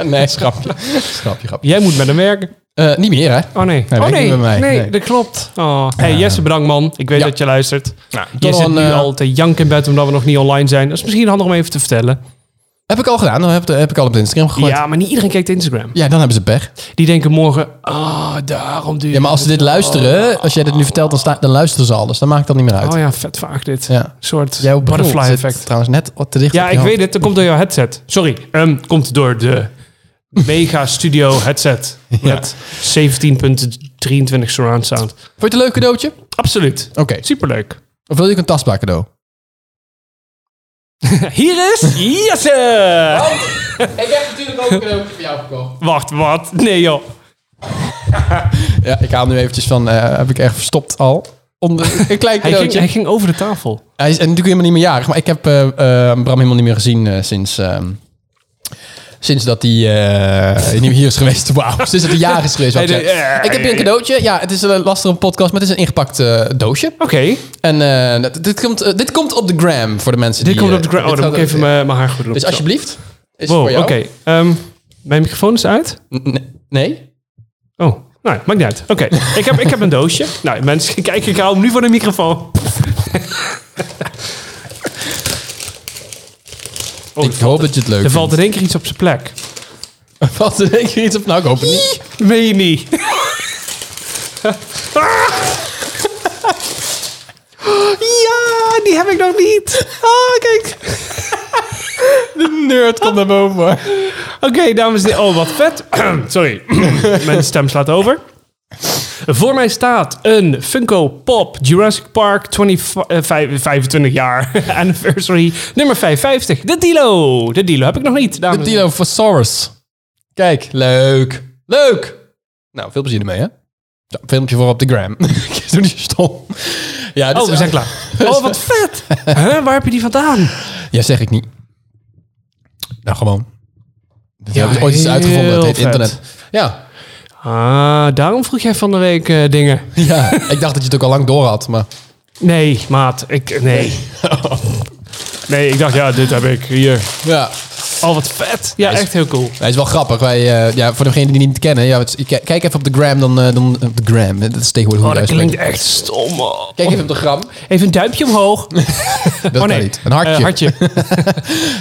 [SPEAKER 3] nee, schrapje. Schrapje, grapje.
[SPEAKER 2] Jij moet met hem werken.
[SPEAKER 3] Eh, niet meer, hè?
[SPEAKER 2] Oh nee.
[SPEAKER 3] Hij
[SPEAKER 2] oh
[SPEAKER 3] werkt
[SPEAKER 2] nee.
[SPEAKER 3] niet bij mij.
[SPEAKER 2] Nee,
[SPEAKER 3] Nee. Eh,
[SPEAKER 2] dat klopt. Oh. Hey Jesse, bedankt man. Ik weet
[SPEAKER 3] Ja.
[SPEAKER 2] dat je luistert. Nou, je
[SPEAKER 3] nog
[SPEAKER 2] zit
[SPEAKER 3] een,
[SPEAKER 2] nu
[SPEAKER 3] eh,
[SPEAKER 2] al te janken in bed omdat we nog niet online zijn. Dat is misschien handig om even te vertellen.
[SPEAKER 3] Heb ik al gedaan. Dan heb, heb ik al op de Instagram gegooid. Ja.
[SPEAKER 2] Ja, maar niet iedereen kijkt Instagram.
[SPEAKER 3] dan hebben ze pech.
[SPEAKER 2] Die denken morgen, ah, daarom duur.
[SPEAKER 3] Ja, maar als ze dit luisteren, als jij dit nu vertelt, dan, sta, dan luisteren ze al. Dus dan maakt dat niet meer uit.
[SPEAKER 2] Oh ja, vet vaag dit.
[SPEAKER 3] Ja.
[SPEAKER 2] Een soort
[SPEAKER 3] Jouw bril
[SPEAKER 2] butterfly
[SPEAKER 3] zit
[SPEAKER 2] effect.
[SPEAKER 3] trouwens net wat te dicht
[SPEAKER 2] Ja,
[SPEAKER 3] op
[SPEAKER 2] ik weet het. Dat komt door jouw headset. Sorry. Ehm komt door de mega studio headset. Met 17.23 surround sound.
[SPEAKER 3] Vond je het een leuk cadeautje? Oké.
[SPEAKER 2] Absoluut.
[SPEAKER 3] Oh.
[SPEAKER 2] Superleuk.
[SPEAKER 3] Of wil je ook een tastbaar cadeau?
[SPEAKER 2] Hier is
[SPEAKER 3] Oh.
[SPEAKER 2] Jesse!
[SPEAKER 3] Ik heb natuurlijk ook een cadeautje voor jou gekocht.
[SPEAKER 2] Wacht, wat? Nee joh.
[SPEAKER 3] Ja, ik haal nu eventjes van, eh, heb ik echt verstopt al. Onder, een klein
[SPEAKER 2] Hij ging,
[SPEAKER 3] cadeautje.
[SPEAKER 2] hij
[SPEAKER 3] Hij,
[SPEAKER 2] ging over de tafel.
[SPEAKER 3] is natuurlijk helemaal niet meer jarig, maar ik heb eh, eh, Bram helemaal niet meer gezien eh, sinds, ehm, sinds dat hij eh, niet meer hier is geweest. Wauw, sinds dat hij jarig is geweest. wou ik,
[SPEAKER 2] Hij deed,
[SPEAKER 3] zeggen. ik heb hier een cadeautje. Ja, het is een lastig een podcast, maar het is een ingepakt eh, doosje.
[SPEAKER 2] Oké.
[SPEAKER 3] En eh, dat- dit, komt, eh, dit komt op de gram voor de mensen
[SPEAKER 2] Dit
[SPEAKER 3] die...
[SPEAKER 2] komt
[SPEAKER 3] eh,
[SPEAKER 2] op de ground. Oh,
[SPEAKER 3] dit
[SPEAKER 2] dan moet ik
[SPEAKER 3] gaat-
[SPEAKER 2] even mijn mijn haar goed doen.
[SPEAKER 3] Dus
[SPEAKER 2] Zo.
[SPEAKER 3] alsjeblieft, is het
[SPEAKER 2] Wow,
[SPEAKER 3] voor
[SPEAKER 2] oké.
[SPEAKER 3] jou.
[SPEAKER 2] Ehm, mijn microfoon is uit.
[SPEAKER 3] N- Nee?
[SPEAKER 2] Oh, nou, maakt niet uit. Oké, ik, heb, ik heb een doosje. Nou, mensen, kijk, ik hou hem nu voor de microfoon. Oh,
[SPEAKER 3] ik hoop dat je het leuk
[SPEAKER 2] er
[SPEAKER 3] vindt.
[SPEAKER 2] valt in één keer iets op zijn plek.
[SPEAKER 3] Valt er denk ik iets op? Nou, ik hoop het niet.
[SPEAKER 2] Meen je niet? ja, die heb ik nog niet. Ah, kijk.
[SPEAKER 3] De nerd komt naar
[SPEAKER 2] Oh,
[SPEAKER 3] boven. hoor.
[SPEAKER 2] Oké, dames en heren. Oh, wat vet. Sorry, mijn stem slaat over. Voor mij staat een Funko Pop Jurassic Park 20, eh, vijf- 25 jaar anniversary nummer 55. De Dilo. De Dilo heb ik nog niet, dames
[SPEAKER 3] De
[SPEAKER 2] en heren.
[SPEAKER 3] Dilophosaurus. Kijk, leuk. Leuk! Nou, veel plezier ermee, hè? Zo, filmpje voor op de gram. Ik doe niet stom. Ja, dus-
[SPEAKER 2] oh, we zijn klaar. Oh, wat vet. Huh, waar heb je die vandaan?
[SPEAKER 3] Ja, zeg ik niet. Nou, gewoon. Dat
[SPEAKER 2] Ja,
[SPEAKER 3] hebben ze ooit iets
[SPEAKER 2] heel
[SPEAKER 3] uitgevonden. Dat heet
[SPEAKER 2] vet.
[SPEAKER 3] internet. Ja.
[SPEAKER 2] Ah, daarom vroeg jij van de week eh, dingen.
[SPEAKER 3] ja, ik dacht dat je het ook al lang door had, maar...
[SPEAKER 2] Nee, maat. Ik, nee. Nee, ik dacht, ja, dit heb ik hier.
[SPEAKER 3] Ja,
[SPEAKER 2] Oh, wat vet. Ja, echt heel cool.
[SPEAKER 3] hij is wel grappig. Wij, eh, ja, voor degenen die niet kennen, ja, het is- kijk kijk even op de gram, dan, eh, dan op de gram. Dat is tegenwoordig
[SPEAKER 2] Oh,
[SPEAKER 3] hoe
[SPEAKER 2] dat
[SPEAKER 3] je het
[SPEAKER 2] klinkt
[SPEAKER 3] uitspreekt.
[SPEAKER 2] echt stom. oh.
[SPEAKER 3] Kijk even op de gram.
[SPEAKER 2] Even een duimpje omhoog.
[SPEAKER 3] Dat
[SPEAKER 2] oh
[SPEAKER 3] kan
[SPEAKER 2] nee,
[SPEAKER 3] niet. Een hartje.
[SPEAKER 2] Eh, hartje.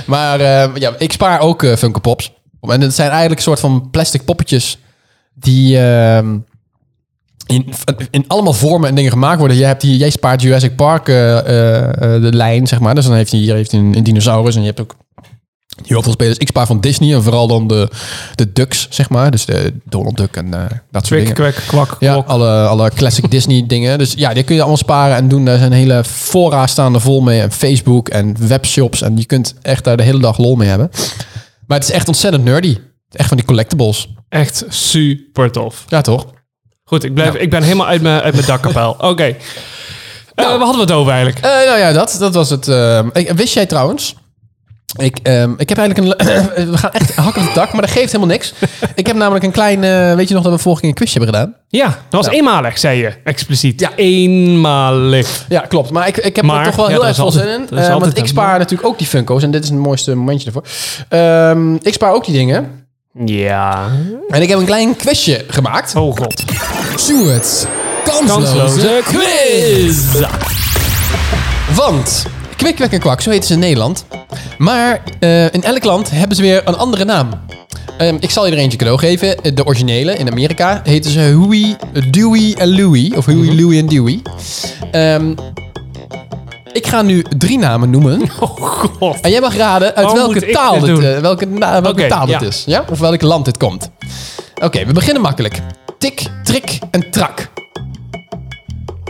[SPEAKER 3] Maar eh, ja, ik spaar ook eh Funko Pops. En het zijn eigenlijk een soort van plastic poppetjes die ehm, in, in allemaal vormen en dingen gemaakt worden. Jij, hebt hier, jij spaart Jurassic Park eh, eh, eh, de lijn, zeg maar. Dus dan heeft hij hier heeft hij een, een dinosaurus en je hebt ook heel veel spelers. Ik spaar van Disney en vooral dan de, de Ducks, zeg maar. Dus de Donald Duck en eh, dat soort
[SPEAKER 2] Kwik,
[SPEAKER 3] dingen.
[SPEAKER 2] kwek, kwak,
[SPEAKER 3] Ja,
[SPEAKER 2] kwok.
[SPEAKER 3] alle, alle classic Disney dingen. Dus ja, die kun je allemaal sparen en doen. Daar zijn hele fora staan er vol mee. En Facebook en webshops. En je kunt echt daar de hele dag lol mee hebben. Maar het is echt ontzettend nerdy. Echt van die collectibles.
[SPEAKER 2] Echt super tof.
[SPEAKER 3] Ja, toch?
[SPEAKER 2] Goed, ik, blijf, ik ben helemaal uit mijn, uit mijn dakkapel. Oké. Eh, waar hadden we het over eigenlijk?
[SPEAKER 3] Eh, nou ja, dat, dat was het. ehm. Ik- wist jij trouwens... Ik, ehm, ik heb eigenlijk een... le- we gaan echt hakken op het dak, maar dat geeft helemaal niks. Ik heb namelijk een klein... eh, weet je nog dat we vorige keer een quizje hebben gedaan?
[SPEAKER 2] Ja, dat was eenmalig, zei je expliciet.
[SPEAKER 3] Ja.
[SPEAKER 2] eenmalig.
[SPEAKER 3] Ja, klopt. Maar ik, ik heb
[SPEAKER 2] Maar,
[SPEAKER 3] er toch wel
[SPEAKER 2] ja,
[SPEAKER 3] heel
[SPEAKER 2] dat
[SPEAKER 3] erg
[SPEAKER 2] is
[SPEAKER 3] veel zin
[SPEAKER 2] altijd-
[SPEAKER 3] in.
[SPEAKER 2] dat is
[SPEAKER 3] Eh, want
[SPEAKER 2] altijd
[SPEAKER 3] ik
[SPEAKER 2] een-
[SPEAKER 3] spaar natuurlijk ook die Funko's. En dit is het mooiste momentje ervoor. Ehm, ik spaar ook die dingen.
[SPEAKER 2] Ja.
[SPEAKER 3] En ik heb een klein quizje gemaakt.
[SPEAKER 2] Oh god.
[SPEAKER 3] Stuart, kansloze
[SPEAKER 2] Kansloze
[SPEAKER 3] quiz. Want Kwikwek en Kwak, zo heten ze in Nederland. Maar eh, in elk land hebben ze weer een andere naam. Ehm, ik zal je er eentje cadeau geven. De originele in Amerika heten ze Huey, eh, Dewey en Louie. Of Huey,
[SPEAKER 2] Mhm.
[SPEAKER 3] Louie en Dewey. Ehm, ik ga nu drie namen noemen.
[SPEAKER 2] Oh god.
[SPEAKER 3] En jij mag raden uit
[SPEAKER 2] Oh, moet
[SPEAKER 3] welke
[SPEAKER 2] ik
[SPEAKER 3] taal,
[SPEAKER 2] dit
[SPEAKER 3] dit,
[SPEAKER 2] doen?
[SPEAKER 3] eh, welke, na- welke
[SPEAKER 2] Oké,
[SPEAKER 3] taal dit
[SPEAKER 2] ja.
[SPEAKER 3] is. Ja? Of welk land dit komt. Oké, we beginnen makkelijk. Tik, trik en trak.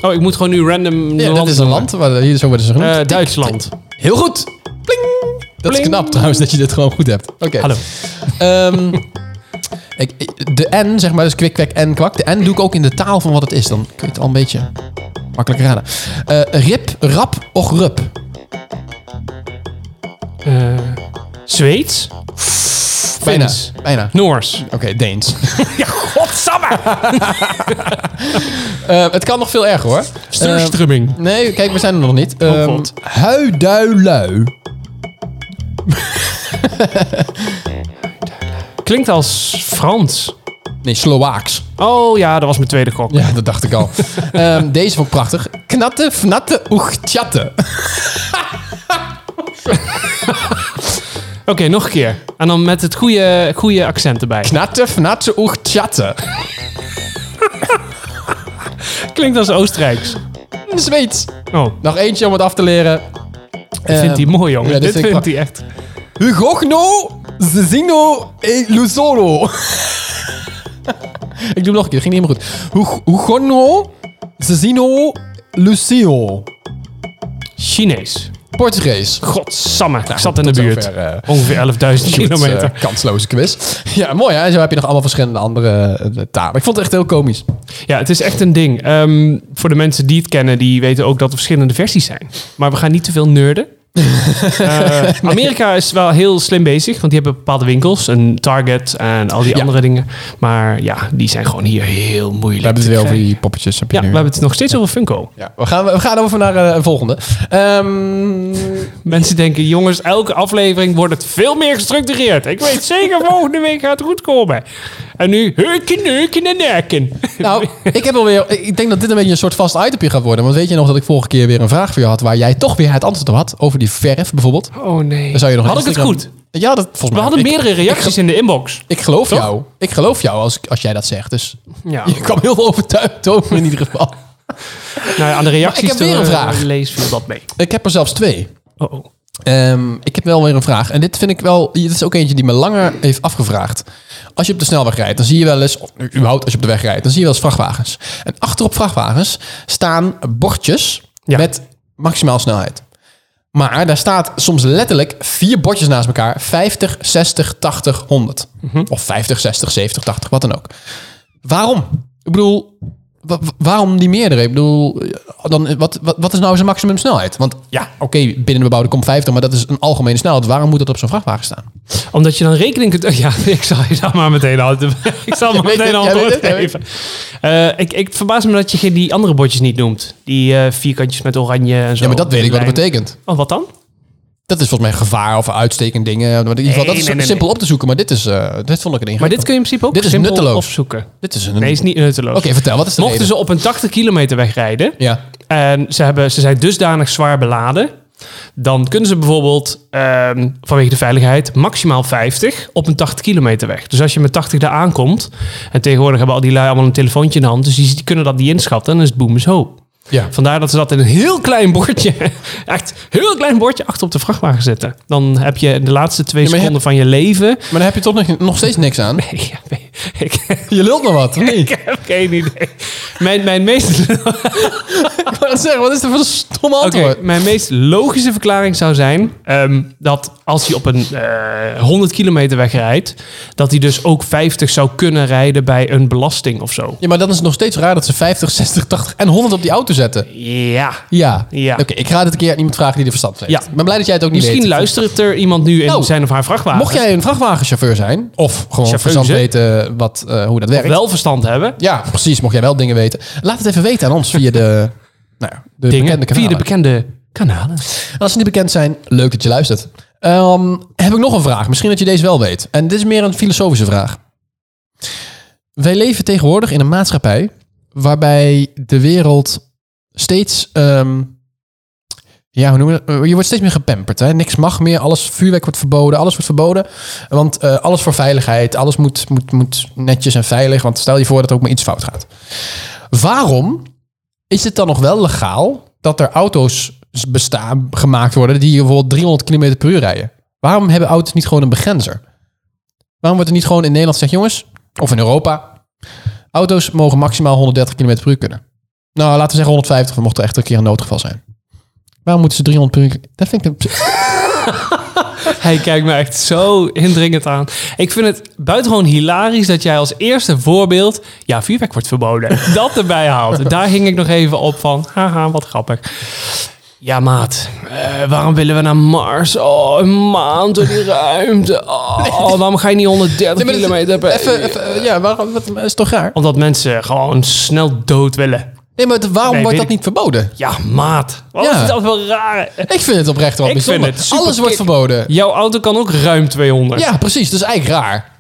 [SPEAKER 2] Oh, ik moet gewoon nu random
[SPEAKER 3] Ja, dat is een land. Waar, hier, zo worden ze genoemd.
[SPEAKER 2] Eh,
[SPEAKER 3] Tik,
[SPEAKER 2] Duitsland.
[SPEAKER 3] trik. Heel goed. Pling. Dat is
[SPEAKER 2] Pling.
[SPEAKER 3] knap trouwens, dat je dit gewoon goed hebt. Oké.
[SPEAKER 2] Hallo.
[SPEAKER 3] Ehm, ik- ik- de N, zeg maar, dus kwik, kwek en kwak. De N doe ik ook in de taal van wat het is. Dan kun je het al een beetje makkelijk raden. Eh, rip, rap, och rup.
[SPEAKER 2] Eh, Zweeds?
[SPEAKER 3] Bijna.
[SPEAKER 2] Fins.
[SPEAKER 3] Bijna.
[SPEAKER 2] Noors?
[SPEAKER 3] Oké, Deens.
[SPEAKER 2] Ja, godsamme!
[SPEAKER 3] Eh, het kan nog veel erger hoor. Eh,
[SPEAKER 2] Sturstrumming.
[SPEAKER 3] Nee, kijk, we zijn er nog niet.
[SPEAKER 2] Oh,
[SPEAKER 3] Ehm,
[SPEAKER 2] God.
[SPEAKER 3] Huiduilui.
[SPEAKER 2] Klinkt als Frans.
[SPEAKER 3] Nee, Sloaaks.
[SPEAKER 2] Oh ja, dat was mijn tweede gok.
[SPEAKER 3] Ja, dat dacht ik al. Ehm, deze vond ik prachtig. Knatte, fnatte, oeg, tjatte.
[SPEAKER 2] Oké, nog een keer. En dan met het goede, goede accent erbij.
[SPEAKER 3] Knatte, fnatte, oeg, tjatte.
[SPEAKER 2] Klinkt als Oostenrijks.
[SPEAKER 3] Zweeds.
[SPEAKER 2] Oh,
[SPEAKER 3] Nog eentje om het af te leren. Ehm,
[SPEAKER 2] dat vindt hij mooi, jongen.
[SPEAKER 3] eh, ja, dit
[SPEAKER 2] dit
[SPEAKER 3] vind ik
[SPEAKER 2] vindt hij echt.
[SPEAKER 3] Hugogno, Zezino e Luzolo. ik doe hem nog een keer, dat ging niet helemaal goed. Hug- Hugogno, Zezino, Lucio.
[SPEAKER 2] Chinees.
[SPEAKER 3] Portugees.
[SPEAKER 2] Godsamme, ik zat in de
[SPEAKER 3] Nou, tot
[SPEAKER 2] buurt.
[SPEAKER 3] zover, eh,
[SPEAKER 2] Ongeveer 11.000
[SPEAKER 3] Kilometer.
[SPEAKER 2] kilometer.
[SPEAKER 3] eh, kansloze quiz. Ja, mooi hè. Zo heb je nog allemaal verschillende andere eh, talen. Ik vond het echt heel komisch.
[SPEAKER 2] Ja, het is echt een ding. Ehm, voor de mensen die het kennen, die weten ook dat er verschillende versies zijn. Maar we gaan niet te veel nerden. Eh, Amerika is wel heel slim bezig, want die hebben bepaalde winkels, een Target en al die
[SPEAKER 3] Ja.
[SPEAKER 2] andere dingen. Maar ja, die zijn gewoon hier heel moeilijk.
[SPEAKER 3] We hebben het
[SPEAKER 2] te
[SPEAKER 3] weer over
[SPEAKER 2] krijgen.
[SPEAKER 3] die poppetjes. Heb je
[SPEAKER 2] Ja, we
[SPEAKER 3] nu.
[SPEAKER 2] hebben het nog steeds over Funko.
[SPEAKER 3] Ja, we, gaan, we gaan over naar eh, een volgende. Ehm,
[SPEAKER 2] Mensen denken, jongens, elke aflevering wordt het veel meer gestructureerd. Ik weet zeker, volgende week gaat het goed komen. En nu, heuken, neuken en nerken.
[SPEAKER 3] nou, ik heb alweer. Ik denk dat dit een beetje een soort vast itemje gaat worden. Want weet je nog dat ik vorige keer weer een vraag voor je had. waar jij toch weer het antwoord op had? Over die verf bijvoorbeeld.
[SPEAKER 2] Oh nee.
[SPEAKER 3] Dan zou je nog
[SPEAKER 2] Had ik het
[SPEAKER 3] Instagram-
[SPEAKER 2] goed?
[SPEAKER 3] Ja, dat volgens mij.
[SPEAKER 2] We hadden
[SPEAKER 3] ik-
[SPEAKER 2] meerdere reacties in de inbox.
[SPEAKER 3] Ik geloof
[SPEAKER 2] Toch?
[SPEAKER 3] jou. Ik geloof jou als, als jij dat zegt. Dus
[SPEAKER 2] Ja.
[SPEAKER 3] je kwam heel overtuigd over in ieder geval.
[SPEAKER 2] Nou, ja, aan de reacties
[SPEAKER 3] Maar ik heb weer
[SPEAKER 2] te-
[SPEAKER 3] een vraag.
[SPEAKER 2] lees viel dat mee.
[SPEAKER 3] Ik heb er zelfs twee.
[SPEAKER 2] Oh, oh.
[SPEAKER 3] Ehm, ik heb wel weer een vraag. En dit vind ik wel. Dit is ook eentje die me langer heeft afgevraagd. Als je op de snelweg rijdt, dan zie je wel eens. Of überhaupt als je op de weg rijdt, dan zie je wel eens vrachtwagens. En achterop vrachtwagens staan bordjes
[SPEAKER 2] Ja.
[SPEAKER 3] met maximaal snelheid. Maar daar staat soms letterlijk vier bordjes naast elkaar: 50, 60, 80, 100. Of 50, 60, 70, 80, wat dan ook. Waarom? Ik bedoel, wa- wa- waarom die meerdere? Ik bedoel, dan, wat, wat, wat is nou zijn maximum snelheid? Want ja, oké, binnen een bebouwde kom 50, maar dat is een algemene snelheid. Waarom moet dat op zo'n vrachtwagen staan?
[SPEAKER 2] Omdat je dan rekening kunt... Ja, ik zal je daar maar meteen al- Ik zal maar
[SPEAKER 3] weet
[SPEAKER 2] meteen
[SPEAKER 3] het,
[SPEAKER 2] al
[SPEAKER 3] jij
[SPEAKER 2] antwoord
[SPEAKER 3] weet het, jij
[SPEAKER 2] geven. Eh, ik, ik het verbaast me dat je geen- die andere bordjes niet noemt. Die eh, vierkantjes met oranje en zo.
[SPEAKER 3] Ja, maar dat weet ik wat
[SPEAKER 2] Lijn.
[SPEAKER 3] dat betekent.
[SPEAKER 2] Oh, wat dan?
[SPEAKER 3] Dat is volgens mij gevaar of uitstekend dingen. Maar in ieder geval,
[SPEAKER 2] Nee,
[SPEAKER 3] dat is
[SPEAKER 2] nee, nee,
[SPEAKER 3] simpel op te zoeken. Maar dit is, eh, dit vond ik een
[SPEAKER 2] Maar
[SPEAKER 3] ingewikkeld.
[SPEAKER 2] dit kun je in principe ook
[SPEAKER 3] Dit is
[SPEAKER 2] simpel
[SPEAKER 3] nutteloos.
[SPEAKER 2] opzoeken.
[SPEAKER 3] dit is een...
[SPEAKER 2] Nee, is niet nutteloos.
[SPEAKER 3] Oké, vertel, wat is de
[SPEAKER 2] Mochten
[SPEAKER 3] reden?
[SPEAKER 2] ze op een 80 kilometer weg rijden...
[SPEAKER 3] Ja,
[SPEAKER 2] En ze, hebben, ze zijn dusdanig zwaar beladen. Dan kunnen ze bijvoorbeeld ehm, vanwege de veiligheid maximaal 50 op een 80 kilometer weg. Dus als je met 80 daar aankomt. En tegenwoordig hebben al die lui allemaal een telefoontje in de hand. Dus die, die kunnen dat niet inschatten. En dan is het boem is hoop.
[SPEAKER 3] ja.
[SPEAKER 2] Vandaar dat ze dat in een heel klein bordje, echt heel klein bordje, achter op de vrachtwagen zetten. Dan heb je de laatste twee
[SPEAKER 3] Ja, maar je
[SPEAKER 2] seconden van je leven.
[SPEAKER 3] Maar daar heb je toch nog, nog steeds niks aan.
[SPEAKER 2] Ik, ik,
[SPEAKER 3] Je lult nog wat, of niet?
[SPEAKER 2] ik heb geen idee. Mijn, mijn meest
[SPEAKER 3] Ik wou net zeggen, wat is er voor een stom antwoord?
[SPEAKER 2] Oké, mijn meest logische verklaring zou zijn ehm, dat als hij op een eh, 100 kilometer weg rijdt, dat hij dus ook 50 zou kunnen rijden bij een belasting of zo.
[SPEAKER 3] Ja, maar dan is het nog steeds raar dat ze 50, 60, 80 en 100 op die auto zetten.
[SPEAKER 2] Ja.
[SPEAKER 3] Ja.
[SPEAKER 2] Ja.
[SPEAKER 3] Oké, ik ga dit een keer aan iemand vragen die er verstand van heeft.
[SPEAKER 2] Ja.
[SPEAKER 3] Ik ben blij dat jij het ook niet
[SPEAKER 2] Misschien
[SPEAKER 3] weet.
[SPEAKER 2] luistert er iemand nu in
[SPEAKER 3] Nou,
[SPEAKER 2] zijn of haar vrachtwagen.
[SPEAKER 3] Mocht jij een vrachtwagenchauffeur zijn, of gewoon
[SPEAKER 2] Chauffeuse.
[SPEAKER 3] verstand weten wat, eh, hoe dat werkt.
[SPEAKER 2] wel verstand hebben,
[SPEAKER 3] Ja, precies. Mocht jij wel dingen weten. Laat het even weten aan ons via de, nou ja, de
[SPEAKER 2] dingen
[SPEAKER 3] bekende
[SPEAKER 2] via de
[SPEAKER 3] kanalen.
[SPEAKER 2] bekende kanalen.
[SPEAKER 3] Als ze niet bekend zijn, leuk dat je luistert. Ehm, heb ik nog een vraag. Misschien dat je deze wel weet. En dit is meer een filosofische vraag. Wij leven tegenwoordig in een maatschappij waarbij de wereld steeds... ehm, ja, hoe noemen we dat? Eh, Je wordt steeds meer gepamperd. Hè? Niks mag meer. Alles, vuurwerk wordt verboden. Alles wordt verboden. Want eh, alles voor veiligheid. Alles moet, moet, moet netjes en veilig. Want stel je voor dat er ook maar iets fout gaat. Waarom is het dan nog wel legaal dat er auto's bestaan, gemaakt worden die bijvoorbeeld 300 km per uur rijden? Waarom hebben auto's niet gewoon een begrenzer? Waarom wordt er niet gewoon in Nederland gezegd, jongens, of in Europa, auto's mogen maximaal 130 km per uur kunnen? Nou, laten we zeggen 150, mocht er echt een keer een noodgeval zijn. Waarom moeten ze 300 per uur? Dat vind ik een-
[SPEAKER 2] Hij kijkt me echt zo indringend aan. Ik vind het buitengewoon hilarisch dat jij als eerste voorbeeld... Ja, vuurwerk wordt verboden. Dat erbij haalt. Daar hing ik nog even op van. Haha, wat grappig. Ja, maat. eh, waarom willen we naar Mars? Oh, een maand door die ruimte. Oh, waarom ga je niet 130
[SPEAKER 3] Nee, maar
[SPEAKER 2] kilometer
[SPEAKER 3] dat-
[SPEAKER 2] per
[SPEAKER 3] even, even, ja, waarom, wat, is toch raar?
[SPEAKER 2] Omdat mensen gewoon snel dood willen.
[SPEAKER 3] Nee, maar het- waarom
[SPEAKER 2] Nee,
[SPEAKER 3] wordt
[SPEAKER 2] weet
[SPEAKER 3] dat niet verboden?
[SPEAKER 2] Ja, maat. Wat
[SPEAKER 3] Ja.
[SPEAKER 2] is dat wel raar.
[SPEAKER 3] Ik vind het oprecht wel
[SPEAKER 2] Ik vind
[SPEAKER 3] bijzonder.
[SPEAKER 2] het superkick.
[SPEAKER 3] Alles wordt verboden.
[SPEAKER 2] Jouw auto kan ook ruim 200.
[SPEAKER 3] Ja, precies. Dat is eigenlijk raar.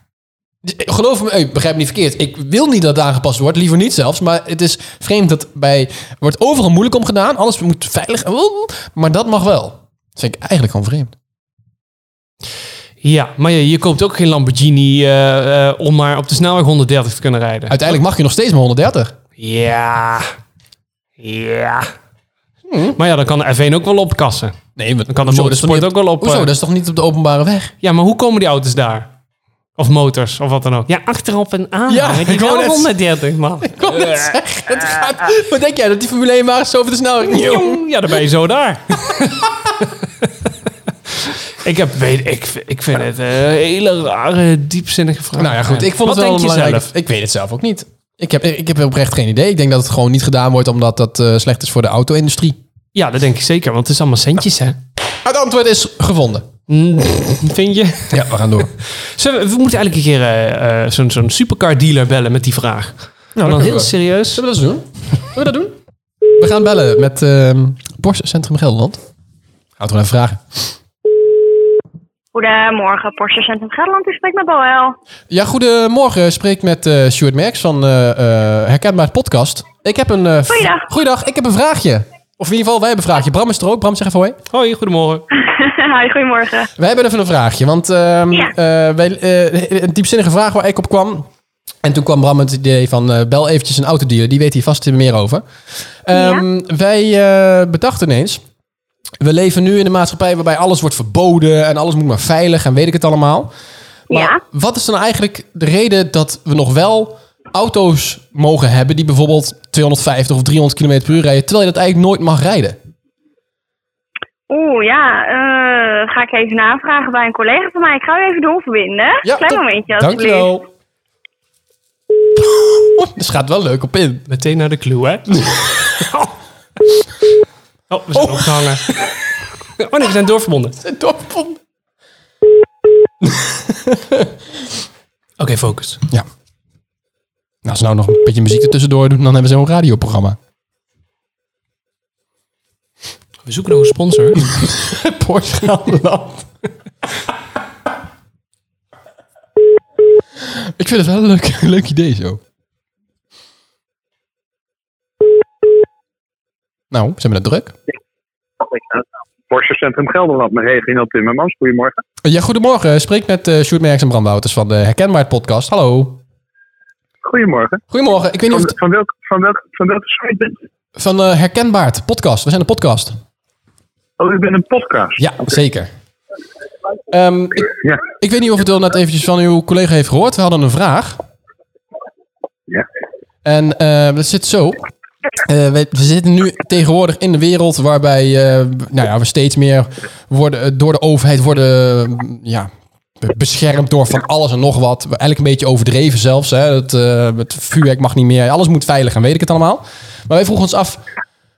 [SPEAKER 3] Geloof me, eh, begrijp me niet verkeerd. Ik wil niet dat het aangepast wordt, liever niet zelfs. Maar het is vreemd dat bij. er wordt overal moeilijk om gedaan. Alles moet veilig. Maar dat mag wel. Dat vind ik eigenlijk gewoon vreemd.
[SPEAKER 2] Ja, maar je, je koopt ook geen Lamborghini eh, eh, om maar op de snelweg 130 te kunnen rijden.
[SPEAKER 3] Uiteindelijk mag je nog steeds maar 130.
[SPEAKER 2] Ja. Ja. Hm. Maar ja, dan kan de F1 ook wel opkassen.
[SPEAKER 3] Nee, maar
[SPEAKER 2] Dan kan de
[SPEAKER 3] hoezo, dat is toch
[SPEAKER 2] motorsport
[SPEAKER 3] niet-
[SPEAKER 2] ook wel op,
[SPEAKER 3] Hoezo?
[SPEAKER 2] eh,
[SPEAKER 3] Dat is toch niet op de openbare weg?
[SPEAKER 2] Ja, maar hoe komen die auto's daar? Of motors, of wat dan ook. Ja, achterop en aan.
[SPEAKER 3] Ja,
[SPEAKER 2] Ah, ik
[SPEAKER 3] Ah, ik wou
[SPEAKER 2] wel
[SPEAKER 3] net-
[SPEAKER 2] 130, man.
[SPEAKER 3] Het gaat, wat denk jij? Dat die Formule 1 wagens zo over de snelheid...
[SPEAKER 2] Jong, Ja, dan ben je zo daar. ik, heb, weet, ik, ik vind het een hele rare, diepzinnige vraag.
[SPEAKER 3] Nou ja, goed. Ik vond het
[SPEAKER 2] Wat
[SPEAKER 3] wel
[SPEAKER 2] denk je
[SPEAKER 3] belangrijk.
[SPEAKER 2] zelf?
[SPEAKER 3] Ik weet het zelf ook niet. Ik heb, ik heb oprecht geen idee. Ik denk dat het gewoon niet gedaan wordt omdat dat eh, slecht is voor de auto-industrie.
[SPEAKER 2] Ja, dat denk ik zeker, want het is allemaal centjes, hè?
[SPEAKER 3] Het antwoord is gevonden.
[SPEAKER 2] Vind je?
[SPEAKER 3] Ja, we gaan door.
[SPEAKER 2] Zullen we, we moeten eigenlijk een keer eh, eh, zo'n zo'n supercar dealer bellen met die vraag. Nou, dan
[SPEAKER 3] kunnen
[SPEAKER 2] heel
[SPEAKER 3] we.
[SPEAKER 2] serieus.
[SPEAKER 3] Zullen we dat eens doen? Zullen we dat doen? We gaan bellen met ehm Porsche Centrum Gelderland. Gaan we het gewoon even vragen.
[SPEAKER 8] Goedemorgen, Porsche Centrum Gelderland. U spreekt met Boel.
[SPEAKER 3] Ja, goedemorgen. Ik Spreek met eh Stuart Merks van eh, eh, Herkenbaar Podcast. Ik heb een... eh, v-
[SPEAKER 8] Goeiedag.
[SPEAKER 3] Goeiedag. Ik heb een vraagje. Of in ieder geval, wij hebben een vraagje. Bram is er ook. Bram, zeg even hoi.
[SPEAKER 2] Hoi, goedemorgen.
[SPEAKER 8] Hi, goedemorgen.
[SPEAKER 3] Wij hebben even een vraagje, want ehm,
[SPEAKER 8] Ja.
[SPEAKER 3] eh, wij, eh, een diepzinnige vraag waar ik op kwam. En toen kwam Bram met het idee van eh, bel eventjes een autodealer, die weet hier vast meer over. Ehm, Wij eh, bedachten ineens, we leven nu in een maatschappij waarbij alles wordt verboden en alles moet maar veilig en weet ik het allemaal. Maar
[SPEAKER 8] Ja.
[SPEAKER 3] wat is dan eigenlijk de reden dat we nog wel auto's mogen hebben die bijvoorbeeld 250 of 300 km per uur rijden, terwijl je dat eigenlijk nooit mag rijden?
[SPEAKER 8] Oeh, ja, eh, ga ik even navragen bij een collega van mij. Ik ga u even doorverbinden. Klein
[SPEAKER 3] dat-
[SPEAKER 8] momentje, alsjeblieft.
[SPEAKER 3] Dankjewel. Dus gaat wel leuk op in.
[SPEAKER 2] Meteen naar de clue, hè? oh, we zijn opgehangen. Oh nee, we zijn doorverbonden. Oké,
[SPEAKER 3] Dorpon.
[SPEAKER 2] focus.
[SPEAKER 3] Ja. Nou, als ze nou nog een beetje muziek ertussendoor doen, dan hebben ze een radioprogramma.
[SPEAKER 2] We zoeken nog een sponsor.
[SPEAKER 3] Portugaland. Ik vind het wel een leuk, leuk idee zo. Nou, ze hebben het druk.
[SPEAKER 9] Borstcentrum Gelderland met Reginald Timmermans. Goedemorgen.
[SPEAKER 3] Ja, goedemorgen. Spreek met eh Sjoerd Merks en Bram Wouters van de Herkenbaar Podcast. Hallo.
[SPEAKER 9] Goedemorgen.
[SPEAKER 3] Goedemorgen. Ik weet niet
[SPEAKER 9] Van,
[SPEAKER 3] of het
[SPEAKER 9] van, welk, van, welk, van welke site bent u?
[SPEAKER 3] van eh Herkenbaar Podcast. We zijn een podcast.
[SPEAKER 9] Oh, u bent een podcast.
[SPEAKER 3] Ja, zeker. Ehm, ik,
[SPEAKER 9] Ja.
[SPEAKER 3] ik weet niet of het wel net eventjes van uw collega heeft gehoord. We hadden een vraag.
[SPEAKER 9] ja.
[SPEAKER 3] En eh, dat zit zo. Eh, we, we zitten nu tegenwoordig in de wereld waarbij eh, nou ja, we steeds meer worden, eh, door de overheid worden mm, ja, be- beschermd door van alles en nog wat. Eigenlijk een beetje overdreven zelfs. Hè. Het, eh, het vuurwerk mag niet meer. Alles moet veilig en weet ik het allemaal. Maar wij vroegen ons af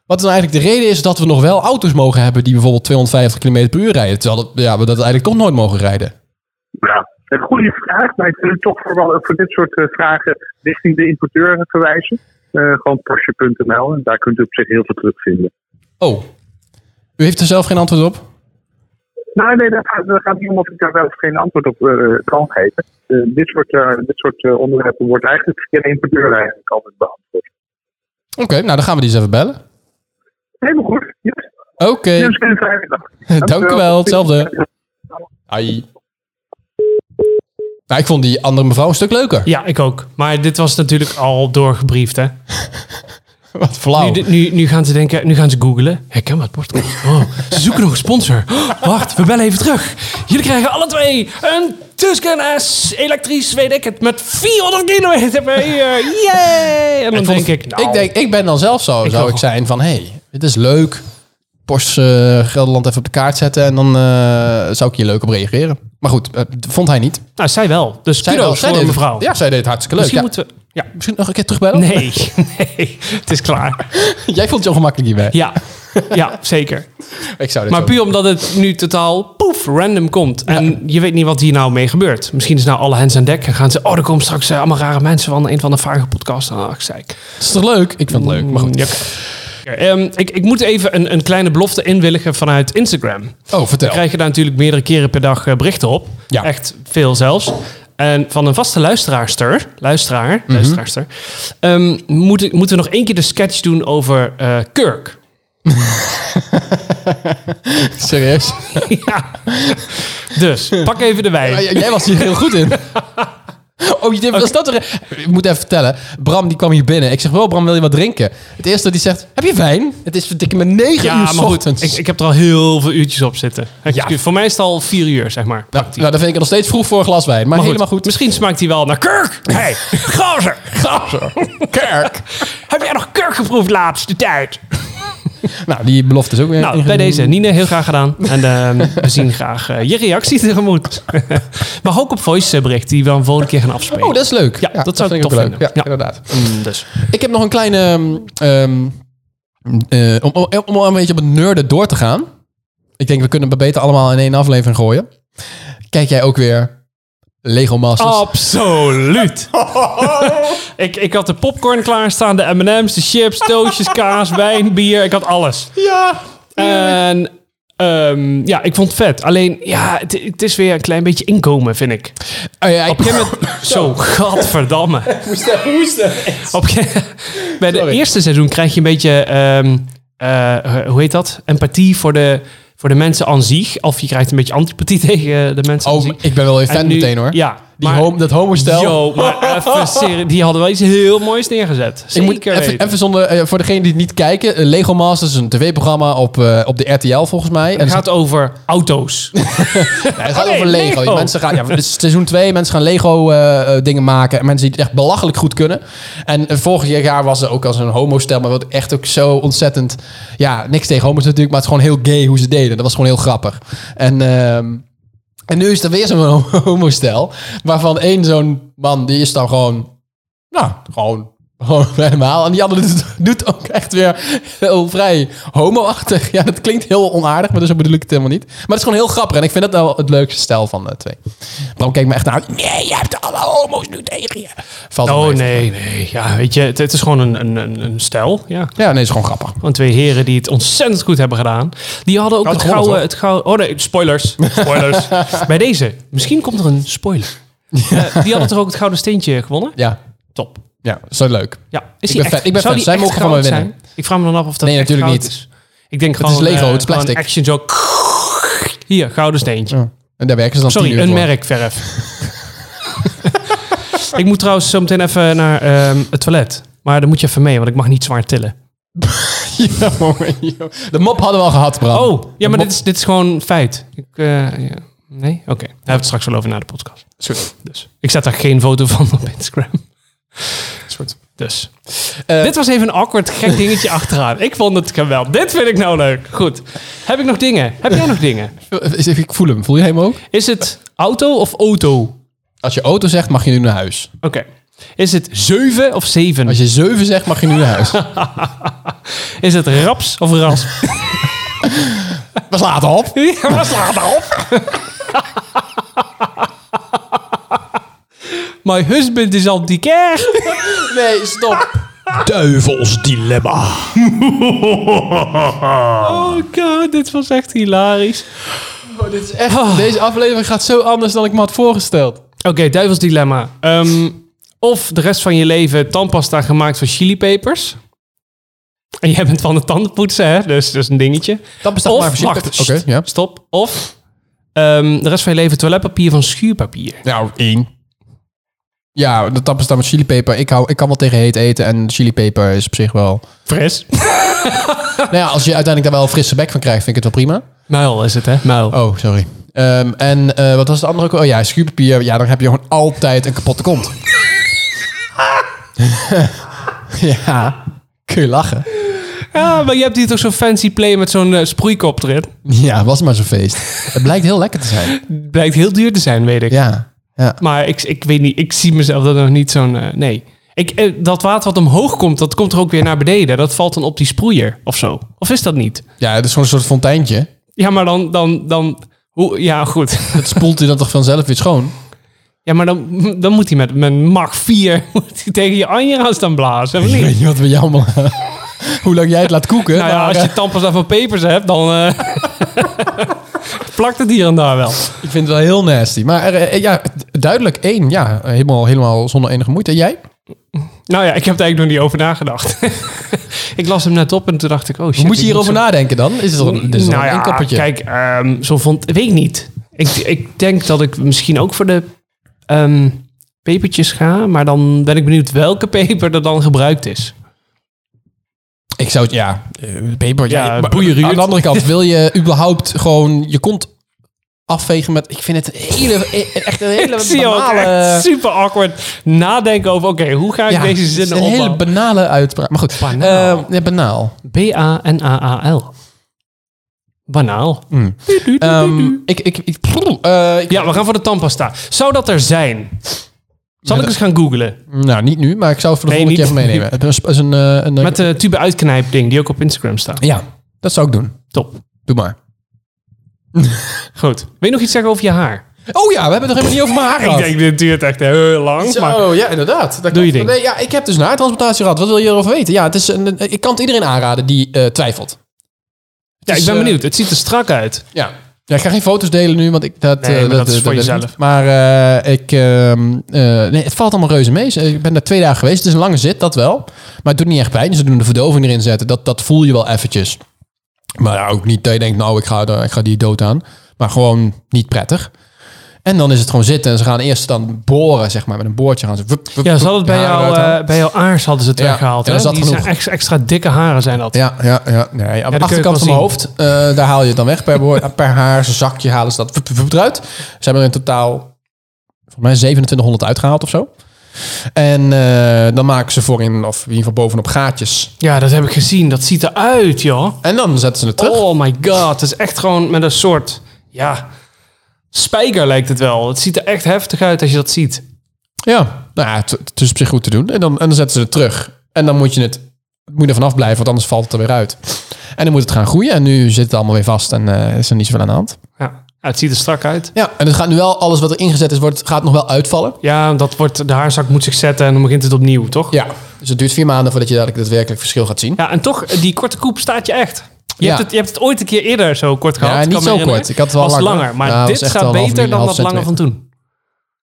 [SPEAKER 3] wat nou eigenlijk de reden is dat we nog wel auto's mogen hebben die bijvoorbeeld 250 km per uur rijden. Terwijl dat, ja, we dat eigenlijk toch nooit mogen rijden.
[SPEAKER 9] Ja, een goede vraag, maar ik wil u toch voor, wel- voor dit soort eh, vragen richting de importeur verwijzen. Eh, gewoon Porsche.nl en daar kunt u op zich heel veel terugvinden.
[SPEAKER 3] Oh, u heeft er zelf geen antwoord op?
[SPEAKER 9] Nou, nee, dat gaat, dat gaat niet om of ik daar wel of geen antwoord op eh, kan geven. Eh, dit soort, eh, dit soort eh, onderwerpen wordt eigenlijk via de importeur eigenlijk altijd beantwoord.
[SPEAKER 3] Oké, nou dan gaan we die eens even bellen.
[SPEAKER 9] Helemaal goed. Ja.
[SPEAKER 3] Oké,
[SPEAKER 9] Dus een fijne dag.
[SPEAKER 3] dank u wel. Hetzelfde. Ai. Nou, ik vond die andere mevrouw een stuk leuker.
[SPEAKER 2] Ja, ik ook. Maar dit was natuurlijk al doorgebriefd, hè?
[SPEAKER 3] Wat flauw.
[SPEAKER 2] Nu, nu, nu gaan ze denken, nu gaan ze googlen. Herken wat podcast. Oh, ze zoeken nog een sponsor. Oh, wacht, we bellen even terug. Jullie krijgen alle twee een Tuscan S elektrisch, weet ik het, met 400 kilometer per uur. Yay! En dan
[SPEAKER 3] vond
[SPEAKER 2] denk
[SPEAKER 3] het-
[SPEAKER 2] ik, nou,
[SPEAKER 3] ik denk, ik ben dan zelf zo, zou
[SPEAKER 2] ook.
[SPEAKER 3] ik zijn van, hé, hey, dit is leuk. Porsche eh, Gelderland even op de kaart zetten en dan eh, zou ik hier leuk op reageren. Maar goed, eh, vond hij niet.
[SPEAKER 2] nou, zij wel. Dus
[SPEAKER 3] Zij wel,
[SPEAKER 2] kudos
[SPEAKER 3] zij
[SPEAKER 2] voor
[SPEAKER 3] deed het-
[SPEAKER 2] mevrouw.
[SPEAKER 3] Ja, zij deed het hartstikke leuk.
[SPEAKER 2] Misschien
[SPEAKER 3] Ja,
[SPEAKER 2] moeten we... Ja.
[SPEAKER 3] misschien nog een keer terugbellen?
[SPEAKER 2] Nee, nee, het is klaar.
[SPEAKER 3] Jij vond het ongemakkelijk hierbij.
[SPEAKER 2] Ja, ja zeker.
[SPEAKER 3] Ik zou dit
[SPEAKER 2] Maar
[SPEAKER 3] zo-
[SPEAKER 2] puur omdat het nu totaal poef, random komt. En je weet niet wat hier nou mee gebeurt. Misschien is nou alle hens aan dek en gaan ze... Oh, er komen straks eh, allemaal rare mensen van een van de vage podcasts. Ah, zeik.
[SPEAKER 3] Het is toch leuk? Ik vind het leuk, maar goed.
[SPEAKER 2] Ja, oké. Ehm, ik, ik moet even een, een kleine belofte inwilligen vanuit Instagram.
[SPEAKER 3] Oh, vertel.
[SPEAKER 2] Mm. Krijg je daar natuurlijk meerdere keren per dag eh, berichten op.
[SPEAKER 3] Ja.
[SPEAKER 2] Echt veel zelfs. En van een vaste luisteraarster, luisteraar, luisteraarster, ehm, moet ik- moeten we nog één keer de sketch doen over eh Kirk.
[SPEAKER 3] Serieus?
[SPEAKER 2] Dus pak even de wijn.
[SPEAKER 3] Ah, j- jij was hier heel goed in. Oh, je, was dat er, ik moet even vertellen. Bram die kwam hier binnen. Ik zeg wel, Bram, wil je wat drinken? Het eerste dat hij zegt, heb je wijn? Het is verdikke me negen
[SPEAKER 2] Ja,
[SPEAKER 3] uur
[SPEAKER 2] maar goed,
[SPEAKER 3] ochtends.
[SPEAKER 2] ik, ik heb er al heel veel uurtjes op zitten. Excuus, Voor mij is het al vier uur, zeg maar.
[SPEAKER 3] nou, nou, dan vind ik het nog steeds vroeg voor een glas wijn. Maar,
[SPEAKER 2] Maar
[SPEAKER 3] helemaal goed.
[SPEAKER 2] Misschien smaakt hij wel naar kurk. Hey, gozer. Gozer. Kurk. Heb jij nog kurk geproefd laatste tijd?
[SPEAKER 3] Nou, die belofte is ook weer...
[SPEAKER 2] Nou, bij
[SPEAKER 3] ingediend.
[SPEAKER 2] deze. Nine, heel graag gedaan. En ehm, we zien graag eh, je reactie tegemoet. maar ook op voicebericht die we een volgende keer gaan afspelen.
[SPEAKER 3] Oh, dat is leuk.
[SPEAKER 2] Ja, dat zou
[SPEAKER 3] vind ook
[SPEAKER 2] ik tof vinden.
[SPEAKER 3] Ja,
[SPEAKER 2] Ja.
[SPEAKER 3] inderdaad.
[SPEAKER 2] Mm, dus.
[SPEAKER 3] Ik heb nog een kleine... ehm, ehm, eh, om, om, om een beetje op het nerden door te gaan. Ik denk, we kunnen het beter allemaal in één aflevering gooien. Kijk jij ook weer Lego Masters?
[SPEAKER 2] Absoluut. Dus- ik, ik had de popcorn klaarstaan, de M&M's, de chips, toastjes, kaas, wijn, bier. Ik had alles.
[SPEAKER 3] Ja!
[SPEAKER 2] En ehm, ja, ik vond het vet. Alleen, ja, het, het is weer een klein beetje inkomen, vind ik.
[SPEAKER 3] Oh, ja,
[SPEAKER 2] Op een gegeven moment... Zo, gadverdamme. Op een gegeven- Bij de
[SPEAKER 3] Sorry.
[SPEAKER 2] eerste seizoen krijg je een beetje... ehm, eh, hoe heet dat? Empathie voor de, voor de mensen aan zich. Of je krijgt een beetje antipathie tegen de mensen aan
[SPEAKER 3] Oh,
[SPEAKER 2] zich.
[SPEAKER 3] ik ben wel weer
[SPEAKER 2] En
[SPEAKER 3] fan
[SPEAKER 2] nu-
[SPEAKER 3] meteen hoor.
[SPEAKER 2] Ja.
[SPEAKER 3] die
[SPEAKER 2] maar-
[SPEAKER 3] home, dat homostel.
[SPEAKER 2] Yo, maar even serie- die hadden wel iets heel moois neergezet.
[SPEAKER 3] ik
[SPEAKER 2] Zeker
[SPEAKER 3] moet even,
[SPEAKER 2] weten.
[SPEAKER 3] even zonder, eh, voor degenen die het niet kijken, eh, Lego Masters is een tv-programma op, eh, op de RTL volgens mij. En
[SPEAKER 2] het gaat over auto's.
[SPEAKER 3] het gaat
[SPEAKER 2] oh, nee,
[SPEAKER 3] over Lego.
[SPEAKER 2] Lego.
[SPEAKER 3] Mensen gaan, ja, dit is seizoen 2, mensen gaan Lego eh, eh, dingen maken. En mensen die het echt belachelijk goed kunnen. En eh, vorig jaar was er ook als een homostel, maar wat echt ook zo ontzettend... Ja, niks tegen homo's natuurlijk, maar het is gewoon heel gay hoe ze deden. Dat was gewoon heel grappig. En... ehm, en nu is er weer zo'n homostel. Waarvan één zo'n man, die is dan gewoon Nou, gewoon, gewoon helemaal. En die andere doet, doet ook echt weer heel vrij homo-achtig. Ja, dat klinkt heel onaardig, maar dus zo bedoel ik het helemaal niet. Maar het is gewoon heel grappig. En ik vind dat nou het leukste stijl van de twee. Dan keek me echt aan. Nee, je hebt alle homo's nu tegen je. Valt wel
[SPEAKER 2] Oh
[SPEAKER 3] mee.
[SPEAKER 2] nee, nee. Ja, weet je, het, het is gewoon een, een, een, een stijl. Ja.
[SPEAKER 3] Ja, nee, het is gewoon grappig.
[SPEAKER 2] Gewoon twee heren die het ontzettend goed hebben gedaan. Die hadden ook
[SPEAKER 3] Had
[SPEAKER 2] het
[SPEAKER 3] gewonnen,
[SPEAKER 2] gouden,
[SPEAKER 3] toch?
[SPEAKER 2] het gouden... Oh nee, spoilers. Spoilers. Bij deze. Misschien komt er een spoiler. Eh, die hadden toch ook het gouden steentje gewonnen?
[SPEAKER 3] Ja,
[SPEAKER 2] Top.
[SPEAKER 3] ja, zo leuk.
[SPEAKER 2] Ja, is
[SPEAKER 3] Ik
[SPEAKER 2] die
[SPEAKER 3] ben fan.
[SPEAKER 2] echt,
[SPEAKER 3] Ik ben fan.
[SPEAKER 2] zou die
[SPEAKER 3] Zij
[SPEAKER 2] echt
[SPEAKER 3] mogen van mij
[SPEAKER 2] goud
[SPEAKER 3] winnen.
[SPEAKER 2] zijn? Ik vraag me dan af of dat
[SPEAKER 3] Nee,
[SPEAKER 2] echt
[SPEAKER 3] natuurlijk
[SPEAKER 2] goud
[SPEAKER 3] niet.
[SPEAKER 2] is. Ik denk
[SPEAKER 3] Het
[SPEAKER 2] gewoon...
[SPEAKER 3] is Lego,
[SPEAKER 2] eh,
[SPEAKER 3] het is
[SPEAKER 2] gewoon
[SPEAKER 3] plastic.
[SPEAKER 2] action zo... Hier, gouden steentje.
[SPEAKER 3] En daar werken ze dan tien
[SPEAKER 2] Sorry,
[SPEAKER 3] uur
[SPEAKER 2] een
[SPEAKER 3] voor.
[SPEAKER 2] merkverf. ik moet trouwens zo meteen even naar ehm, het toilet. Maar dan moet je even mee, want ik mag niet zwaar tillen.
[SPEAKER 3] Ja, jongen, Oh, joh. De mop hadden we al gehad, Bram.
[SPEAKER 2] Oh, ja, maar
[SPEAKER 3] mop-
[SPEAKER 2] dit is, dit is gewoon feit. Ik, eh, ja. Nee? Oké. Daar hebben we het straks wel over na de podcast.
[SPEAKER 3] Soort,
[SPEAKER 2] Dus. Ik zet daar geen foto van op Instagram.
[SPEAKER 3] soort.
[SPEAKER 2] Dus. dit was even een awkward gek dingetje achteraan. Ik vond het geweldig. Dit vind ik nou leuk. Goed. Heb ik nog dingen? Heb jij nog dingen?
[SPEAKER 3] Is- Ik voel hem. Voel je hem ook?
[SPEAKER 2] Is het auto of auto? Oké.
[SPEAKER 3] Als je auto zegt, mag je nu naar huis.
[SPEAKER 2] Is het zeven of zeven?
[SPEAKER 3] Als je zeven zegt, mag je nu naar huis.
[SPEAKER 2] Is het raps of rasp?
[SPEAKER 3] We slaan het op.
[SPEAKER 2] Ja, maar sla daarop. My husband is antiquair.
[SPEAKER 3] Nee, stop. Duivels dilemma.
[SPEAKER 2] Oh god, dit was echt hilarisch.
[SPEAKER 3] Oh, dit is echt, Deze aflevering gaat zo anders dan ik me had voorgesteld.
[SPEAKER 2] Oké, duivels dilemma. Ehm, of de rest van je leven tandpasta gemaakt van chilipepers. En jij bent van het tandenpoetsen, hè? Dus dat is een dingetje.
[SPEAKER 3] Dat bestaat maar
[SPEAKER 2] Of,
[SPEAKER 3] voor
[SPEAKER 2] wacht,
[SPEAKER 3] chilipepers. Oké,
[SPEAKER 2] sst,
[SPEAKER 3] ja.
[SPEAKER 2] stop. Of ehm, de rest van je leven toiletpapier van schuurpapier.
[SPEAKER 3] Nou, één. Ja, de tapas dan met chilipeper. Ik, hou, ik kan wel tegen heet eten en chilipeper is op zich wel...
[SPEAKER 2] Fris.
[SPEAKER 3] nou ja, als je uiteindelijk daar wel een frisse bek van krijgt, vind ik het wel prima.
[SPEAKER 2] Muil is het, hè? Muil.
[SPEAKER 3] Oh, sorry. Ehm, en eh, wat was het andere? ook? Oh ja, schuurpapier. Ja, dan heb je gewoon altijd een kapotte kont. ja, kun je lachen.
[SPEAKER 2] Ja, maar je hebt hier toch zo'n fancy play met zo'n eh, sproeikop erin.
[SPEAKER 3] Ja, was maar zo'n feest. Het blijkt heel lekker te zijn.
[SPEAKER 2] Blijkt heel duur te zijn, weet ik.
[SPEAKER 3] Ja, ja.
[SPEAKER 2] Maar ik, ik weet niet, ik zie mezelf dat nog niet zo'n... eh, nee. Ik, eh, dat water wat omhoog komt, dat komt er ook weer naar beneden. Dat valt dan op die sproeier of zo. Of is dat niet?
[SPEAKER 3] ja het is gewoon een soort fonteintje.
[SPEAKER 2] Ja, maar dan... dan, dan hoe, ja, goed.
[SPEAKER 3] Dat spoelt hij dan toch vanzelf weer schoon?
[SPEAKER 2] Ja, maar dan, dan moet hij met mijn Mach 4 moet hij tegen je anjera's staan blazen. Of
[SPEAKER 3] Ik
[SPEAKER 2] niet?
[SPEAKER 3] weet niet wat we jammer. Hoe lang jij het laat koeken.
[SPEAKER 2] Nou ja,
[SPEAKER 3] maar,
[SPEAKER 2] als
[SPEAKER 3] eh,
[SPEAKER 2] je tandpasta van pepers hebt, dan eh, plakt het hier en daar wel.
[SPEAKER 3] Ik vind het wel heel nasty. Maar eh, eh, ja, duidelijk één. Ja, helemaal, helemaal zonder enige moeite. En jij?
[SPEAKER 2] Nou ja, ik heb er eigenlijk nog niet over nagedacht. ik las hem net op en toen dacht ik, oh shit.
[SPEAKER 3] Hoe moet
[SPEAKER 2] ik
[SPEAKER 3] je hierover
[SPEAKER 2] zo- Nou
[SPEAKER 3] nadenken dan? Is het al, dit is al een koppertje?
[SPEAKER 2] Kijk, ehm, zo vond... Weet ik niet. Ik, ik denk dat ik misschien ook voor de ehm pepertjes ga. Maar dan ben ik benieuwd welke peper er dan gebruikt is.
[SPEAKER 3] Ik zou het, ja, eh, peper. Ja,
[SPEAKER 2] Ja,
[SPEAKER 3] maar
[SPEAKER 2] boeien, Ruud.
[SPEAKER 3] Aan de andere kant, wil je überhaupt gewoon je kont afvegen met... Ik vind het een hele, e- echt een hele
[SPEAKER 2] ik zie je ook
[SPEAKER 3] banale...
[SPEAKER 2] echt super awkward nadenken over... Oké, hoe ga ik
[SPEAKER 3] eh, ja,
[SPEAKER 2] deze
[SPEAKER 3] het is
[SPEAKER 2] zinnen
[SPEAKER 3] Een hele
[SPEAKER 2] opbouwen?
[SPEAKER 3] banale uitspraak. Maar goed,
[SPEAKER 2] Banaal.
[SPEAKER 3] eh, ja, banaal.
[SPEAKER 2] B-A-N-A-A-L. Banaal.
[SPEAKER 3] Ehm, ik, ik, ik, prrr, eh, ik-
[SPEAKER 2] Ja, we gaan voor de tandpasta. Zou dat er zijn? Zal ik
[SPEAKER 3] dat-
[SPEAKER 2] eens gaan googlen?
[SPEAKER 3] Nou, niet nu, maar ik zou het voor de
[SPEAKER 2] Nee,
[SPEAKER 3] volgende
[SPEAKER 2] niet.
[SPEAKER 3] keer even meenemen. Het is is een... eh, een
[SPEAKER 2] Met de tube uitknijp ding die ook op Instagram staat.
[SPEAKER 3] Ja, dat zou ik doen.
[SPEAKER 2] Top.
[SPEAKER 3] Doe maar.
[SPEAKER 2] Goed. Wil je nog iets zeggen over je haar?
[SPEAKER 3] Oh ja, we hebben het nog even niet over mijn haar gehad.
[SPEAKER 2] dit duurt echt heel lang.
[SPEAKER 3] Oh ja, inderdaad. Dat
[SPEAKER 2] Doe je
[SPEAKER 3] klopt.
[SPEAKER 2] ding.
[SPEAKER 3] Nee, ja, ik heb dus een haartransplantatie gehad. Wat wil je erover weten? Ja, het is een, een- ik kan het iedereen aanraden die eh, twijfelt.
[SPEAKER 2] ja, ik
[SPEAKER 3] is,
[SPEAKER 2] ben
[SPEAKER 3] eh,
[SPEAKER 2] benieuwd. Het ziet er strak uit.
[SPEAKER 3] Ja. ja, ik ga geen foto's delen nu, want ik, dat,
[SPEAKER 2] Nee,
[SPEAKER 3] eh,
[SPEAKER 2] maar dat is voor
[SPEAKER 3] wil ik
[SPEAKER 2] jezelf.
[SPEAKER 3] niet. Maar eh, ik, ehm, eh, nee, het valt allemaal reuze mee. Ik ben daar twee dagen geweest. Het is een lange zit, dat wel. Maar het doet niet echt pijn. Ze doen de verdoving erin zetten. Dat, dat voel je wel eventjes. Maar ja, ook niet dat je denkt, nou, ik ga, daar- ik ga die dood aan. Maar gewoon niet prettig. En dan is het gewoon zitten. En ze gaan eerst dan boren, zeg maar. Met een boortje gaan ze... wup, wup,
[SPEAKER 2] Ja, ze
[SPEAKER 3] wup,
[SPEAKER 2] hadden het bij,
[SPEAKER 3] de haren
[SPEAKER 2] jou,
[SPEAKER 3] eruit halen.
[SPEAKER 2] eh, bij jouw aars hadden ze het
[SPEAKER 3] Ja,
[SPEAKER 2] weggehaald.
[SPEAKER 3] ja,
[SPEAKER 2] hè?
[SPEAKER 3] dat is
[SPEAKER 2] Die
[SPEAKER 3] genoeg.
[SPEAKER 2] zijn ex- extra dikke haren zijn dat.
[SPEAKER 3] Ja, ja, ja. Nee, aan de
[SPEAKER 2] kun je ook
[SPEAKER 3] achterkant van mijn
[SPEAKER 2] wel
[SPEAKER 3] hoofd, eh, daar haal je het dan weg. Per, boor- per haar, zijn zakje halen ze dat wup, wup, wup eruit. Ze hebben er in totaal, volgens mij, 2700 uitgehaald of zo. En eh, dan maken ze voorin, of in ieder geval bovenop, gaatjes.
[SPEAKER 2] Ja, dat heb ik gezien. Dat ziet eruit, joh.
[SPEAKER 3] En dan zetten ze het terug.
[SPEAKER 2] Oh my god. Het is echt gewoon met een soort... Ja, spijker lijkt het wel. Het ziet er echt heftig uit als je dat ziet.
[SPEAKER 3] Ja, nou ja, het, het is op zich goed te doen. En dan, en dan zetten ze het terug. En dan moet je het moet je er vanaf blijven, want anders valt het er weer uit. En dan moet het gaan groeien. En nu zit het allemaal weer vast en eh, is er niet zoveel aan de hand.
[SPEAKER 2] Ja. Ja, het ziet er strak uit.
[SPEAKER 3] Ja, en het gaat nu wel, alles wat er ingezet is, wordt, gaat nog wel uitvallen.
[SPEAKER 2] Ja, dat wordt, de haarzak moet zich zetten en dan begint het opnieuw, toch?
[SPEAKER 3] Ja, dus het duurt vier maanden voordat je dadelijk daadwerkelijk verschil gaat zien.
[SPEAKER 2] Ja, en toch, die korte koep staat je echt. Je,
[SPEAKER 3] Ja.
[SPEAKER 2] hebt het, je hebt het ooit een keer eerder zo kort gehad.
[SPEAKER 3] Ja,
[SPEAKER 2] kan
[SPEAKER 3] niet
[SPEAKER 2] me
[SPEAKER 3] zo
[SPEAKER 2] herinneren.
[SPEAKER 3] kort. Ik had het wel
[SPEAKER 2] was
[SPEAKER 3] langer.
[SPEAKER 2] langer, maar
[SPEAKER 3] Ja, het
[SPEAKER 2] dit
[SPEAKER 3] was echt
[SPEAKER 2] staat
[SPEAKER 3] wel een half
[SPEAKER 2] beter dan
[SPEAKER 3] millimeter,
[SPEAKER 2] dat lange
[SPEAKER 3] half
[SPEAKER 2] van toen.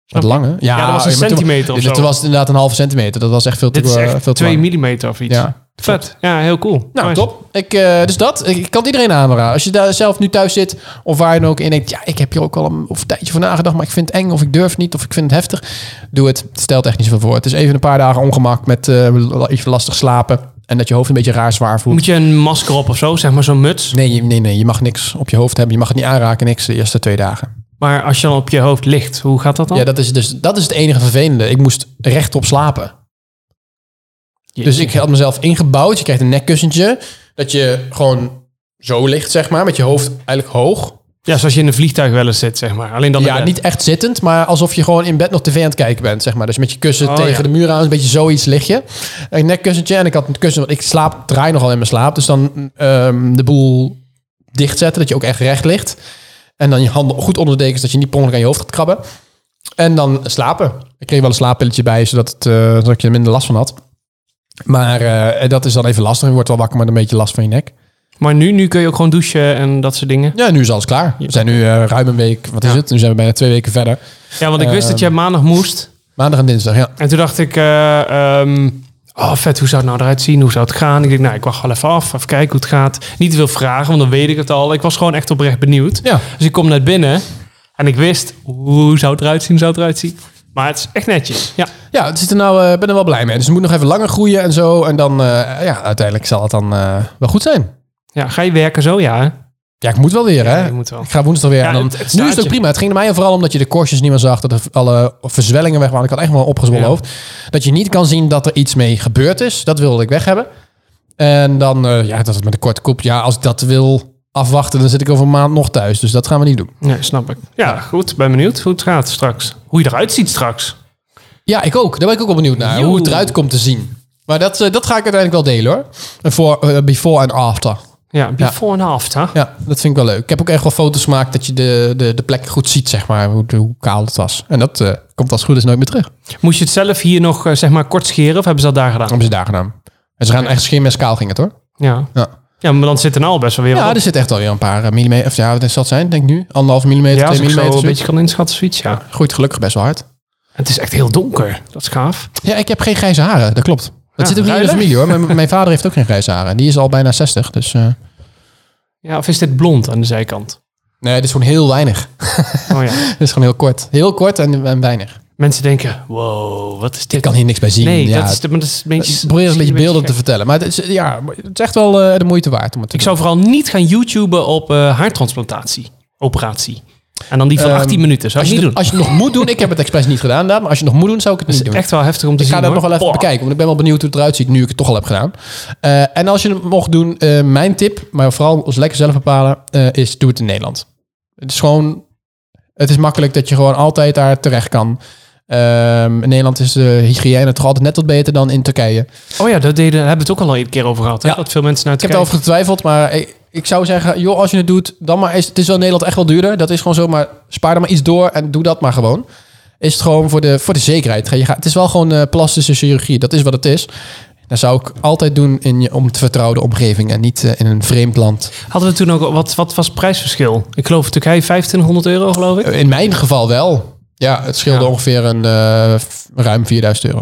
[SPEAKER 3] Wat lange? Ja,
[SPEAKER 2] dat was een
[SPEAKER 3] ja, maar toen-
[SPEAKER 2] centimeter of
[SPEAKER 3] dit-
[SPEAKER 2] zo.
[SPEAKER 3] Toen was het inderdaad een halve centimeter. Dat was echt veel te,
[SPEAKER 2] Dit is
[SPEAKER 3] eh,
[SPEAKER 2] echt
[SPEAKER 3] veel te
[SPEAKER 2] 2
[SPEAKER 3] lang.
[SPEAKER 2] millimeter of iets.
[SPEAKER 3] Ja.
[SPEAKER 2] Vet. Ja, heel cool.
[SPEAKER 3] Nou,
[SPEAKER 2] Nice.
[SPEAKER 3] top. Ik, eh, dus dat. Ik, ik kan het iedereen aanraden. Als je daar zelf nu thuis zit of waar je dan ook in denkt... ja, ik heb hier ook al een, of een tijdje voor nagedacht... maar ik vind het eng of ik durf niet of ik vind het heftig. Doe het. Het stelt echt niet zoveel voor. Het is even een paar dagen ongemak met eh, la- iets lastig slapen... en dat je hoofd een beetje raar zwaar voelt.
[SPEAKER 2] Moet je een masker op of zo, zeg maar zo'n muts.
[SPEAKER 3] Nee, je- nee, nee, je mag niks op je hoofd hebben. Je mag het niet aanraken, niks de eerste twee dagen.
[SPEAKER 2] Maar als je dan op je hoofd ligt, hoe gaat dat dan?
[SPEAKER 3] Ja, dat is, dus, dat is het enige vervelende. Ik moest rechtop slapen.
[SPEAKER 2] Jeetje.
[SPEAKER 3] Dus ik had mezelf ingebouwd. Je krijgt een nekkussentje. Dat je gewoon zo ligt, zeg maar. Met je hoofd eigenlijk hoog.
[SPEAKER 2] ja, zoals je in een vliegtuig wel eens zit, zeg maar. Alleen dan in
[SPEAKER 3] Ja,
[SPEAKER 2] bed.
[SPEAKER 3] niet echt zittend, maar alsof je gewoon in bed nog tv aan het kijken bent, zeg maar. Dus met je kussen
[SPEAKER 2] Oh,
[SPEAKER 3] tegen
[SPEAKER 2] ja.
[SPEAKER 3] de muur aan, een beetje zoiets lig je. Een nekkussentje en ik had een kussen, want ik slaap, draai nogal in mijn slaap. Dus dan ehm, de boel dichtzetten, dat je ook echt recht ligt. En dan je handen goed onder de dekens, dat je niet per ongeluk aan je hoofd gaat krabben. En dan slapen. Ik kreeg wel een slaappilletje bij, zodat, het, eh, zodat je er minder last van had. Maar eh, dat is dan even lastig. Je wordt wel wakker met een beetje last van je nek.
[SPEAKER 2] Maar nu, nu kun je ook gewoon douchen en dat soort dingen.
[SPEAKER 3] Ja, nu is alles klaar. We zijn nu eh, ruim een week, wat is
[SPEAKER 2] Ja.
[SPEAKER 3] het? Nu zijn we bijna twee weken verder.
[SPEAKER 2] Ja, want ik wist
[SPEAKER 3] Ehm.
[SPEAKER 2] dat jij maandag moest.
[SPEAKER 3] Maandag en dinsdag, ja.
[SPEAKER 2] En toen dacht ik, eh, ehm, oh vet, hoe zou het nou eruit zien? Hoe zou het gaan? Ik denk, nou, ik wacht wel even af, even kijken hoe het gaat. Niet te veel vragen, want dan weet ik het al. Ik was gewoon echt oprecht benieuwd.
[SPEAKER 3] Ja.
[SPEAKER 2] Dus ik kom net binnen en ik wist, hoe zou het eruit zien, hoe zou het eruit zien? Maar het is echt netjes. Ja,
[SPEAKER 3] Ja, het zit er nou, eh, ben er wel blij mee. Dus het moet nog even langer groeien en zo. En dan, eh, ja, uiteindelijk zal het dan eh, wel goed zijn.
[SPEAKER 2] ja ga je werken zo? Ja, hè?
[SPEAKER 3] Ja, ik moet wel weer, hè?
[SPEAKER 2] je moet wel.
[SPEAKER 3] Ik ga woensdag weer.
[SPEAKER 2] Ja,
[SPEAKER 3] en dan,
[SPEAKER 2] het- het staat
[SPEAKER 3] nu is het ook
[SPEAKER 2] je.
[SPEAKER 3] prima. Het ging er mij vooral omdat je de korstjes niet meer zag. Dat er alle verzwellingen weg waren. Ik had echt wel een opgezwollen
[SPEAKER 2] Ja.
[SPEAKER 3] hoofd. Dat je niet kan zien dat er iets mee gebeurd is. Dat wilde ik weg hebben. En dan, eh, ja, dat het met een korte kop. Ja, als ik dat wil afwachten, dan zit ik over een maand nog thuis. Dus dat gaan we niet doen.
[SPEAKER 2] Ja, snap ik. Ja, goed. Ben benieuwd hoe het gaat straks. Hoe je eruit ziet straks.
[SPEAKER 3] Ja, ik ook. Daar ben ik ook wel benieuwd naar.
[SPEAKER 2] Joe.
[SPEAKER 3] Hoe het eruit komt te zien. Maar dat, eh, dat ga ik uiteindelijk wel delen hoor. Een Voor, eh, before en after.
[SPEAKER 2] Ja, before and after.
[SPEAKER 3] Ja, dat vind ik wel leuk. Ik heb ook echt wel foto's gemaakt dat je de, de, de plek goed ziet, zeg maar, hoe, hoe kaal het was. En dat eh, komt als het goed is nooit meer terug. Dat
[SPEAKER 2] Moest je het zelf hier nog, eh, zeg maar, kort scheren of hebben ze dat daar gedaan?
[SPEAKER 3] hebben ze daar gedaan. En ze gaan echt scheermes kaal ging het hoor.
[SPEAKER 2] Ja.
[SPEAKER 3] Ja.
[SPEAKER 2] Ja, maar dan zit er nou al best wel weer wat
[SPEAKER 3] Ja,
[SPEAKER 2] op.
[SPEAKER 3] er zit echt alweer een paar eh, millimeter, of ja, wat zal het zijn, denk ik nu? Anderhalf millimeter,
[SPEAKER 2] Ja, als
[SPEAKER 3] twee
[SPEAKER 2] ik zo
[SPEAKER 3] millimeter.
[SPEAKER 2] een
[SPEAKER 3] zoiets.
[SPEAKER 2] beetje kan inschatten, zoiets, ja.
[SPEAKER 3] Groeit gelukkig best wel hard.
[SPEAKER 2] Het is echt heel donker. Dat is gaaf.
[SPEAKER 3] Ja, ik heb geen grijze haren, dat klopt. Dat
[SPEAKER 2] Ja,
[SPEAKER 3] zit ook niet in de
[SPEAKER 2] ruiler.
[SPEAKER 3] familie hoor. Mijn, mijn vader heeft ook geen grijze haren. Die is al bijna 60, dus... eh,
[SPEAKER 2] Ja, of is dit blond aan de zijkant?
[SPEAKER 3] nee, dit is gewoon heel weinig.
[SPEAKER 2] Oh ja.
[SPEAKER 3] Dit is gewoon heel kort. Heel kort en, en weinig.
[SPEAKER 2] Mensen denken, wow, wat is dit?
[SPEAKER 3] Ik kan hier niks bij zien.
[SPEAKER 2] Nee,
[SPEAKER 3] ja,
[SPEAKER 2] dat, is, de- maar dat is een beetje...
[SPEAKER 3] Ik probeer het een beetje beelden te
[SPEAKER 2] gek.
[SPEAKER 3] vertellen. Maar het is, ja, het is echt wel eh, de moeite waard om het te
[SPEAKER 2] Ik zou vooral niet gaan YouTuben op eh, haartransplantatie. Operatie. En dan die van
[SPEAKER 3] Ehm,
[SPEAKER 2] 18 minuten. Zou
[SPEAKER 3] als
[SPEAKER 2] ik
[SPEAKER 3] je,
[SPEAKER 2] niet
[SPEAKER 3] het-
[SPEAKER 2] doen.
[SPEAKER 3] als je het nog moet doen, ik heb het expres niet gedaan, daar, maar als je het nog moet doen, zou ik het
[SPEAKER 2] Dat
[SPEAKER 3] niet
[SPEAKER 2] is
[SPEAKER 3] doen.
[SPEAKER 2] echt wel heftig om te
[SPEAKER 3] ik
[SPEAKER 2] zien,
[SPEAKER 3] ga dat
[SPEAKER 2] hoor.
[SPEAKER 3] nog wel even
[SPEAKER 2] Boah.
[SPEAKER 3] bekijken, want ik ben wel benieuwd hoe het eruit ziet nu ik het toch al heb gedaan. Eh, en als je het mocht doen, eh, mijn tip, maar vooral als lekker zelf bepalen, eh, is doe het in Nederland. Het is gewoon, het is makkelijk dat je gewoon altijd daar terecht kan. Ehm, in Nederland is de hygiëne toch altijd net wat beter dan in Turkije.
[SPEAKER 2] Oh ja, dat deden, daar hebben we het ook al een keer over gehad. hè?
[SPEAKER 3] Ja.
[SPEAKER 2] Dat veel mensen naar
[SPEAKER 3] Ik
[SPEAKER 2] het
[SPEAKER 3] heb daarover getwijfeld, maar ik, ik zou zeggen, joh, als je het doet, dan maar eens. Het is wel in Nederland echt wel duurder. Dat is gewoon zo, maar spaar er maar iets door en doe dat maar gewoon. Is het gewoon voor de, voor de zekerheid. Ga- Je gaat, het is wel gewoon eh, plastische chirurgie. Dat is wat het is. Dat zou ik altijd doen in je om te vertrouwde omgeving en niet eh, in een vreemd land.
[SPEAKER 2] Hadden we toen ook... Wat, wat was het prijsverschil? Ik geloof Turkije 2500 euro, geloof ik.
[SPEAKER 3] Eh, In mijn geval wel. Ja, het scheelde
[SPEAKER 2] Ja.
[SPEAKER 3] ongeveer een, eh, f- ruim 4000 euro.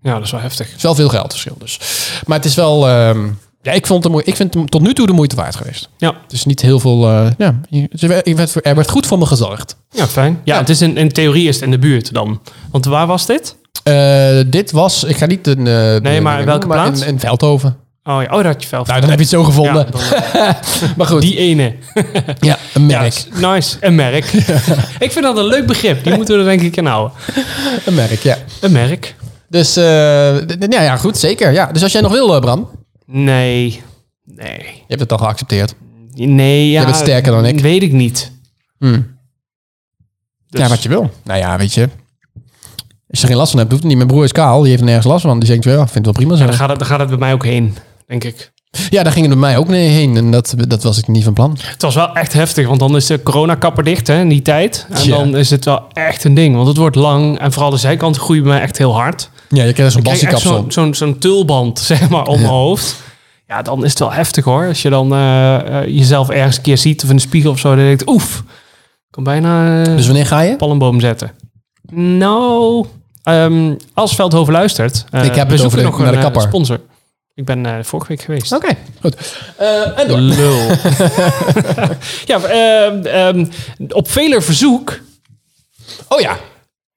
[SPEAKER 2] Ja, dat is wel heftig.
[SPEAKER 3] Het is wel veel geld verschil dus. Maar het is wel... ehm, ja, ik, vond de, moe- ik vind het tot nu toe de moeite waard geweest.
[SPEAKER 2] Ja.
[SPEAKER 3] Het is niet heel veel... eh, ja, je- ze werd- ik werd, voor- er werd goed voor me gezorgd.
[SPEAKER 2] Ja, fijn. Ja,
[SPEAKER 3] Ja.
[SPEAKER 2] het is in, in theorie is het in de buurt dan. Want waar was dit?
[SPEAKER 3] Eh, dit was, ik ga niet een. eh, de-
[SPEAKER 2] maar
[SPEAKER 3] dingen
[SPEAKER 2] welke
[SPEAKER 3] noemen, maar
[SPEAKER 2] plaats?
[SPEAKER 3] In, in Veldhoven.
[SPEAKER 2] Oh ja, oh, daar had je velf.
[SPEAKER 3] Nou, dan heb je het zo gevonden.
[SPEAKER 2] Ja, dan-
[SPEAKER 3] maar goed,
[SPEAKER 2] die ene.
[SPEAKER 3] ja, een
[SPEAKER 2] Ja,
[SPEAKER 3] merk.
[SPEAKER 2] s- nice. Een merk. ik vind dat een leuk begrip. Die moeten we er denk ik in houden.
[SPEAKER 3] Een merk, ja.
[SPEAKER 2] Een merk?
[SPEAKER 3] Dus, eh, d- d- nou ja, goed, zeker. Ja. Dus als jij nog wil, eh, Bram,
[SPEAKER 2] Nee. Nee.
[SPEAKER 3] je hebt het al geaccepteerd.
[SPEAKER 2] Nee, ja.
[SPEAKER 3] bent sterker dan ik.
[SPEAKER 2] Weet ik niet.
[SPEAKER 3] Hmm.
[SPEAKER 2] Dus-
[SPEAKER 3] Ja, wat je wil. Nou ja, weet je. Als je er geen last van hebt, hoeft het niet. Mijn broer is kaal, die heeft er nergens last van. Die denkt, ja, ik vind het wel prima zo.
[SPEAKER 2] Dan gaat, het, dan gaat het bij mij ook heen, denk ik.
[SPEAKER 3] Ja, daar ging het bij mij ook nee heen. En dat, dat was ik niet van plan.
[SPEAKER 2] Het was wel echt heftig, want dan is de coronakapper dicht hè, in die tijd. En
[SPEAKER 3] Tja.
[SPEAKER 2] dan is het wel echt een ding, want het wordt lang. En vooral de zijkanten groeien bij mij echt heel hard.
[SPEAKER 3] Ja, je krijgt zo'n
[SPEAKER 2] Krijg je echt
[SPEAKER 3] bassiekapsel.
[SPEAKER 2] zo'n zo'n zo'n tulband, zeg maar, om mijn hoofd. Ja, dan is het wel heftig hoor. Als je dan eh, eh, jezelf ergens een keer ziet of in de spiegel of zo, dan denk je, oef, ik kan bijna eh,
[SPEAKER 3] Dus wanneer ga je?
[SPEAKER 2] palmboom zetten. Nou, ehm, als Veldhoven luistert, eh,
[SPEAKER 3] Ik heb het
[SPEAKER 2] we zoeken
[SPEAKER 3] over de-
[SPEAKER 2] nog
[SPEAKER 3] naar
[SPEAKER 2] een
[SPEAKER 3] de
[SPEAKER 2] eh,
[SPEAKER 3] kapper.
[SPEAKER 2] sponsor. Ik ben eh, vorige week geweest.
[SPEAKER 3] Oké, goed. Eh, en door.
[SPEAKER 2] Lul. ja, maar, ehm, ehm, op veler verzoek.
[SPEAKER 3] Oh ja,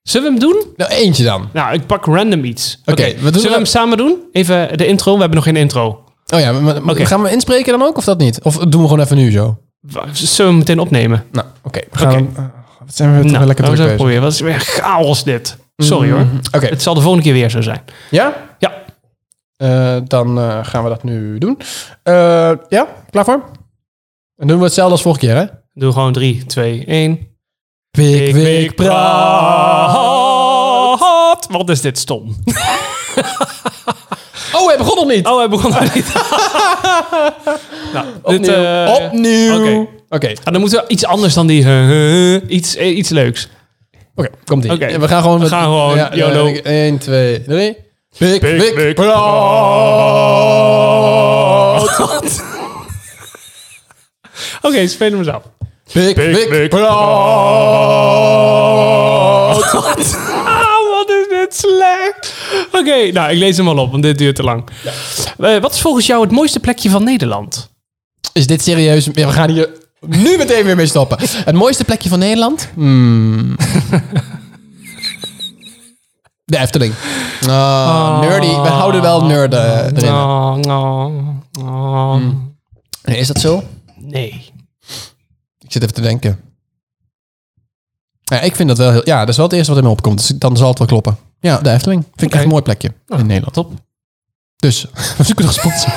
[SPEAKER 2] Zullen we hem doen?
[SPEAKER 3] nou eentje dan.
[SPEAKER 2] Nou, ik pak random iets.
[SPEAKER 3] Oké, we doen
[SPEAKER 2] Zullen we
[SPEAKER 3] dat-
[SPEAKER 2] hem samen doen? Even de intro. We hebben nog geen intro.
[SPEAKER 3] Oh ja, maar- maar, maar
[SPEAKER 2] Oké.
[SPEAKER 3] gaan we inspreken dan ook of dat niet? Of doen we gewoon even nu zo?
[SPEAKER 2] Wa- Zullen we hem meteen opnemen?
[SPEAKER 3] Nou, oké. we gaan
[SPEAKER 2] Oké.
[SPEAKER 3] hem- eh, wat zijn we toch wel lekker
[SPEAKER 2] laten we
[SPEAKER 3] druk
[SPEAKER 2] het
[SPEAKER 3] bezig.
[SPEAKER 2] even proberen. Wat is weer chaos dit. Sorry hoor.
[SPEAKER 3] Oké,
[SPEAKER 2] Het zal de volgende keer weer zo zijn.
[SPEAKER 3] ja?
[SPEAKER 2] Ja.
[SPEAKER 3] Eh, dan eh, gaan we dat nu doen. Eh, ja, klaar voor? Dan doen we hetzelfde als vorige keer, hè?
[SPEAKER 2] Doe gewoon 3, 2, 1.
[SPEAKER 3] Pik, pik,
[SPEAKER 2] praat. Wat is dit stom?
[SPEAKER 3] Oh, hij begon nog niet.
[SPEAKER 2] Oh, hij begon al niet. nou, dit,
[SPEAKER 3] Opnieuw.
[SPEAKER 2] eh,
[SPEAKER 3] Opnieuw. Oké,
[SPEAKER 2] Oké. Ah, dan moeten we iets anders dan die... eh, eh, iets, eh, iets leuks.
[SPEAKER 3] Oké, komt ie.
[SPEAKER 2] Oké.
[SPEAKER 3] Ja, We gaan gewoon...
[SPEAKER 2] We gaan gewoon, YOLO.
[SPEAKER 3] 1, 2, 3. Pik, pik,
[SPEAKER 2] pik,
[SPEAKER 3] praat.
[SPEAKER 2] Oké, spelen we zo.
[SPEAKER 3] Pik, pik,
[SPEAKER 2] Ah, wat is dit slecht. Oké, nou, ik lees hem al op, want dit duurt te lang. Eh, wat is volgens jou het mooiste plekje van Nederland?
[SPEAKER 3] Is dit serieus? Ja, we gaan hier nu meteen weer mee stoppen. Het mooiste plekje van Nederland? Hmm. De Efteling. Ah, Nerdy. We houden wel nerden eh, erin.
[SPEAKER 2] Oh, oh, oh.
[SPEAKER 3] Hmm. Nee, Is dat zo?
[SPEAKER 2] Nee.
[SPEAKER 3] Ik zit even te denken. Ja, ik vind dat wel heel... Ja, dat is wel het eerste wat in me opkomt. Dus dan zal het wel kloppen. Ja, de Efteling. Vind ik echt een mooi plekje in Nederland.
[SPEAKER 2] Top.
[SPEAKER 3] Dus, we zoeken nog sponsor.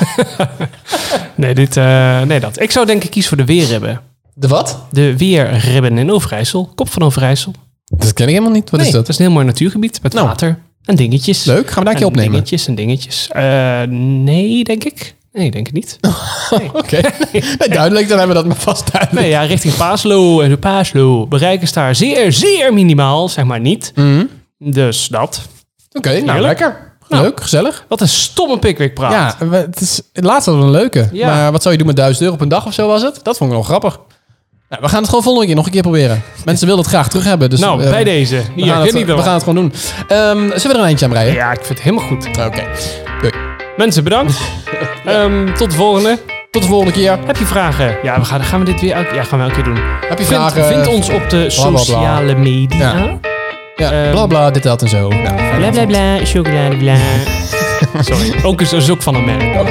[SPEAKER 2] Nee, dit, eh, nee, dat. Ik zou denk ik kiezen voor de weerribben.
[SPEAKER 3] De wat?
[SPEAKER 2] De weerribben in Overijssel. Kop van Overijssel.
[SPEAKER 3] Dat ken ik helemaal niet. Wat
[SPEAKER 2] Nee,
[SPEAKER 3] is dat?
[SPEAKER 2] is een heel mooi natuurgebied met
[SPEAKER 3] Nou.
[SPEAKER 2] water en dingetjes.
[SPEAKER 3] Leuk, gaan we daar een keer
[SPEAKER 2] en
[SPEAKER 3] opnemen.
[SPEAKER 2] dingetjes en dingetjes. Eh, nee, denk ik. Nee, denk ik
[SPEAKER 3] Oh,
[SPEAKER 2] niet.
[SPEAKER 3] Oké. Nee, duidelijk, dan hebben we dat maar vast duidelijk.
[SPEAKER 2] Nee, ja, richting Paaslo en de Paaslo bereiken ze daar zeer, zeer minimaal, zeg maar niet.
[SPEAKER 3] Hmm.
[SPEAKER 2] Dus dat.
[SPEAKER 3] Oké, nou
[SPEAKER 2] Heerlijk.
[SPEAKER 3] lekker.
[SPEAKER 2] Nou.
[SPEAKER 3] Leuk, gezellig.
[SPEAKER 2] Wat een stomme pickwick praat.
[SPEAKER 3] Ja, we- het is laatst hadden we een leuke.
[SPEAKER 2] Ja.
[SPEAKER 3] Maar wat zou je doen met 1000 euro op een dag of zo was het? Dat vond ik wel grappig. Nou, we gaan het gewoon volgende keer nog een keer proberen. Mensen willen het graag terug hebben. Dus,
[SPEAKER 2] nou,
[SPEAKER 3] eh,
[SPEAKER 2] bij deze.
[SPEAKER 3] We,
[SPEAKER 2] Hier,
[SPEAKER 3] gaan
[SPEAKER 2] geniet
[SPEAKER 3] het, we
[SPEAKER 2] ervan.
[SPEAKER 3] gaan het gewoon doen. Ehm, zullen we er een eindje aan breien?
[SPEAKER 2] Ja, ik vind het helemaal goed.
[SPEAKER 3] Oké.
[SPEAKER 2] Mensen, bedankt. Ehm, tot de volgende.
[SPEAKER 3] Tot de volgende keer.
[SPEAKER 2] Heb je vragen? Ja, we gaan, gaan we dit weer elke, ja, gaan we elke keer doen.
[SPEAKER 3] Heb je
[SPEAKER 2] Vind,
[SPEAKER 3] vragen?
[SPEAKER 2] vind ons op de
[SPEAKER 3] bla, bla.
[SPEAKER 2] sociale media.
[SPEAKER 3] Ja. Ja,
[SPEAKER 2] Ehm,
[SPEAKER 3] bla bla, dit, dat en zo. Nou,
[SPEAKER 2] Bla bla bla, chocolade bla. Sorry, ook een zoek van een merk.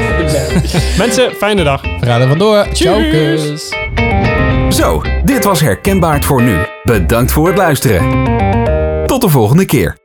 [SPEAKER 2] Mensen, fijne dag.
[SPEAKER 3] we gaan er vandoor. Ciao, kus.
[SPEAKER 4] Zo, dit was Herkenbaar voor nu. Bedankt voor het luisteren. Tot de volgende keer.